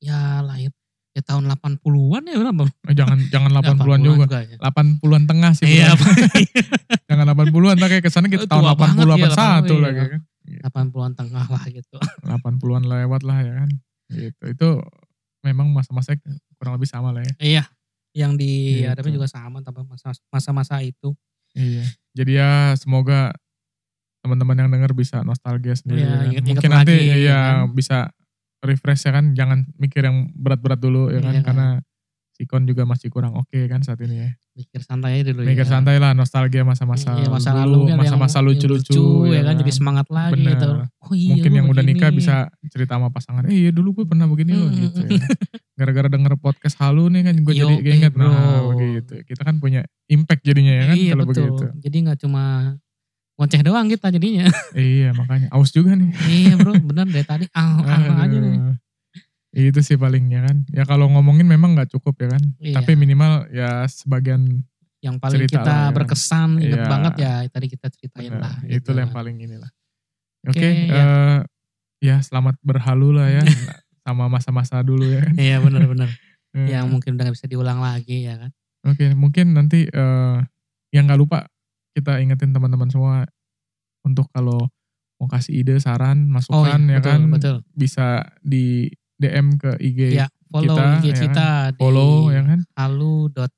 Speaker 2: ya lahir ya tahun 80-an ya berapa?
Speaker 1: Eh, Jangan jangan 80-an
Speaker 2: 80-an
Speaker 1: juga.
Speaker 2: ya.
Speaker 1: 80-an tengah sih.
Speaker 2: Iya,
Speaker 1: bener. jangan 80-an tapi kayak kesannya kita
Speaker 2: Tua
Speaker 1: tahun 80
Speaker 2: banget
Speaker 1: 81
Speaker 2: ya, iya.
Speaker 1: lagi kan.
Speaker 2: 80-an tengah lah gitu. [laughs]
Speaker 1: 80-an lewat lah ya kan. Gitu. Itu memang masa-masa kurang lebih sama lah ya.
Speaker 2: Iya. Yang dihadapi
Speaker 1: Gitu.
Speaker 2: juga sama tapi masa- masa-masa itu.
Speaker 1: Iya. Jadi ya semoga teman-teman yang denger bisa nostalgia sendiri.
Speaker 2: Iya,
Speaker 1: ya kan.
Speaker 2: inget-inget
Speaker 1: Mungkin nanti
Speaker 2: lagi,
Speaker 1: ya
Speaker 2: kan.
Speaker 1: bisa refresh ya kan, jangan mikir yang berat-berat dulu ya kan,
Speaker 2: Iya, kan.
Speaker 1: karena sikon juga masih kurang oke kan saat ini ya.
Speaker 2: Mikir santai aja dulu
Speaker 1: Mikir
Speaker 2: ya.
Speaker 1: santai lah, nostalgia masa-masa
Speaker 2: Iya, masa
Speaker 1: dulu,
Speaker 2: lalu kan yang-
Speaker 1: masa-masa
Speaker 2: yang
Speaker 1: lucu-lucu iya
Speaker 2: ya kan jadi semangat lagi
Speaker 1: Bener.
Speaker 2: gitu. Oh iya,
Speaker 1: Mungkin
Speaker 2: lu
Speaker 1: yang udah
Speaker 2: begini.
Speaker 1: nikah bisa cerita sama pasangan, eh iya dulu gue pernah begini loh
Speaker 2: Mm,
Speaker 1: gitu
Speaker 2: mm,
Speaker 1: ya. Gara-gara denger podcast halu nih kan gue
Speaker 2: Yo,
Speaker 1: jadi keinget
Speaker 2: bro.
Speaker 1: nah begitu. Kita kan punya impact jadinya ya kan
Speaker 2: iya,
Speaker 1: kalau
Speaker 2: betul.
Speaker 1: begitu.
Speaker 2: Jadi nggak cuma ngoceh doang kita jadinya.
Speaker 1: [laughs] Iya makanya aus juga nih.
Speaker 2: iya bro, bener dari tadi ah, ah, ah aja nih.
Speaker 1: Aduh. Itu sih palingnya kan. Ya kalau ngomongin memang nggak cukup ya kan.
Speaker 2: Iya.
Speaker 1: Tapi minimal ya sebagian
Speaker 2: Yang paling
Speaker 1: cerita
Speaker 2: kita
Speaker 1: lah, ya.
Speaker 2: berkesan, inget
Speaker 1: Iya.
Speaker 2: banget ya tadi kita ceritain
Speaker 1: nah,
Speaker 2: lah.
Speaker 1: itu
Speaker 2: gitu
Speaker 1: yang
Speaker 2: kan.
Speaker 1: paling inilah. Oke,
Speaker 2: Oke,
Speaker 1: eh,
Speaker 2: ya.
Speaker 1: ya selamat berhalu lah ya
Speaker 2: [laughs]
Speaker 1: sama masa-masa dulu ya. kan.
Speaker 2: Iya
Speaker 1: [laughs]
Speaker 2: bener-bener.
Speaker 1: Eh,
Speaker 2: yang mungkin udah gak bisa diulang lagi ya kan.
Speaker 1: Oke, mungkin nanti eh, yang nggak lupa kita ingetin teman-teman semua untuk kalau mau kasih ide, saran, masukan ya
Speaker 2: iya, betul,
Speaker 1: kan
Speaker 2: betul.
Speaker 1: bisa di DM ke IG
Speaker 2: Iya, follow
Speaker 1: kita,
Speaker 2: IG
Speaker 1: ya
Speaker 2: kita di
Speaker 1: follow ya kan
Speaker 2: halu dot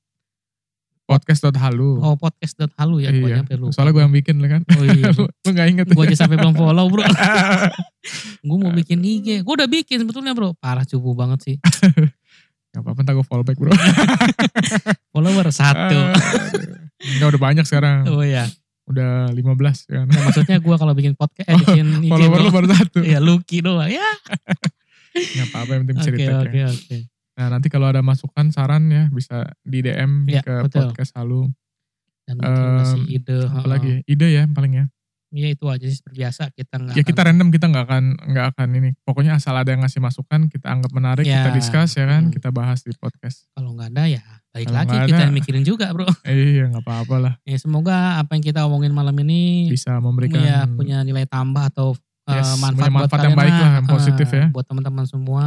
Speaker 1: podcast.halu.
Speaker 2: oh podcast dot halu ya
Speaker 1: Iya.
Speaker 2: pokoknya perlu.
Speaker 1: Soalnya gue yang bikin lah kan.
Speaker 2: Oh iya.
Speaker 1: [laughs] lu, lu gak inget.
Speaker 2: gue aja sampai belum follow bro. [laughs] gue mau bikin IG, gue udah bikin sebetulnya bro. Parah cupu banget sih.
Speaker 1: gak apa-apa ntar gue follow back bro.
Speaker 2: Follower
Speaker 1: [laughs]
Speaker 2: satu.
Speaker 1: Ah. Enggak udah banyak sekarang.
Speaker 2: Oh iya.
Speaker 1: Udah 15 kan.
Speaker 2: Nah, maksudnya gue kalau bikin podcast, eh,
Speaker 1: [laughs]
Speaker 2: bikin IG
Speaker 1: Follower lu
Speaker 2: bro.
Speaker 1: baru satu.
Speaker 2: ya Lucky doang ya.
Speaker 1: Gak apa-apa yang penting bisa
Speaker 2: Oke
Speaker 1: di-tag ya.
Speaker 2: oke oke.
Speaker 1: Nah nanti kalau ada masukan, saran ya bisa di DM
Speaker 2: Iya,
Speaker 1: ke
Speaker 2: betul.
Speaker 1: podcast Halu.
Speaker 2: Dan mungkin kasih
Speaker 1: Em,
Speaker 2: ide. heeh.
Speaker 1: Apalagi ide ya paling ya.
Speaker 2: Iya itu aja sih seperti biasa kita nggak.
Speaker 1: Ya kita random kita nggak akan nggak akan ini. Pokoknya asal ada yang ngasih masukan kita anggap menarik,
Speaker 2: Ya.
Speaker 1: kita discuss ya kan,
Speaker 2: Hmm.
Speaker 1: kita bahas di podcast.
Speaker 2: kalau nggak ada ya baik
Speaker 1: Kalau
Speaker 2: lagi
Speaker 1: nggak
Speaker 2: kita
Speaker 1: ada.
Speaker 2: yang mikirin juga bro.
Speaker 1: Eh, iya nggak apa-apa lah.
Speaker 2: Ya semoga apa yang kita omongin malam ini
Speaker 1: Bisa memberikan
Speaker 2: punya Iya. punya nilai tambah atau
Speaker 1: hmm.
Speaker 2: eh,
Speaker 1: Yes,
Speaker 2: manfaat,
Speaker 1: punya manfaat yang
Speaker 2: buat kalian
Speaker 1: baik lah, yang
Speaker 2: heeh,
Speaker 1: positif ya.
Speaker 2: Buat teman-teman semua.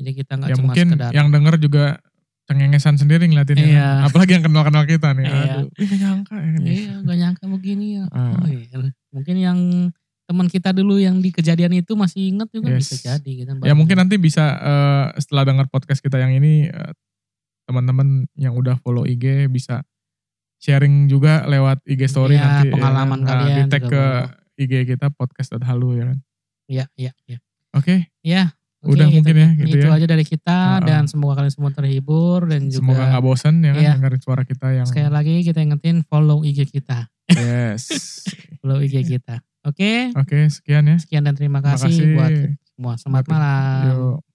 Speaker 2: Jadi kita nggak
Speaker 1: ya
Speaker 2: cuma
Speaker 1: mungkin
Speaker 2: sekedar.
Speaker 1: yang denger juga cengengesan sendiri ngeliatin ya.
Speaker 2: Iya.
Speaker 1: apalagi yang kenal-kenal kita nih
Speaker 2: Iya.
Speaker 1: aduh ih, nggak nyangka ya kan
Speaker 2: Iya nggak nyangka begini ya.
Speaker 1: Ah.
Speaker 2: Oh, iya. Mungkin yang teman kita dulu yang di kejadian itu masih inget juga
Speaker 1: Yes.
Speaker 2: bisa jadi gitu. kita
Speaker 1: ya mungkin nanti bisa eh, setelah denger podcast kita yang ini eh, teman-teman yang udah follow IG bisa sharing juga lewat IG story
Speaker 2: Iya,
Speaker 1: nanti. ya.
Speaker 2: pengalaman kalian
Speaker 1: Di tag
Speaker 2: juga
Speaker 1: ke
Speaker 2: boleh.
Speaker 1: IG kita podcast.halu ya kan.
Speaker 2: Iya, iya, iya.
Speaker 1: Oke,
Speaker 2: Ya, oke,
Speaker 1: udah
Speaker 2: itu-
Speaker 1: mungkin ya gitu
Speaker 2: itu
Speaker 1: ya.
Speaker 2: aja dari kita
Speaker 1: Heeh.
Speaker 2: dan semoga kalian semua terhibur dan juga
Speaker 1: Semoga nggak bosen ya kan
Speaker 2: Iya.
Speaker 1: dengerin suara kita yang
Speaker 2: sekali lagi kita ingetin follow IG kita,
Speaker 1: [laughs] yes.
Speaker 2: follow
Speaker 1: Iya.
Speaker 2: IG kita. Oke,
Speaker 1: Oke, sekian ya.
Speaker 2: sekian dan terima
Speaker 1: Terima
Speaker 2: kasih, buat
Speaker 1: kasih.
Speaker 2: semua. Selamat
Speaker 1: Buat-
Speaker 2: malam.
Speaker 1: Yuk.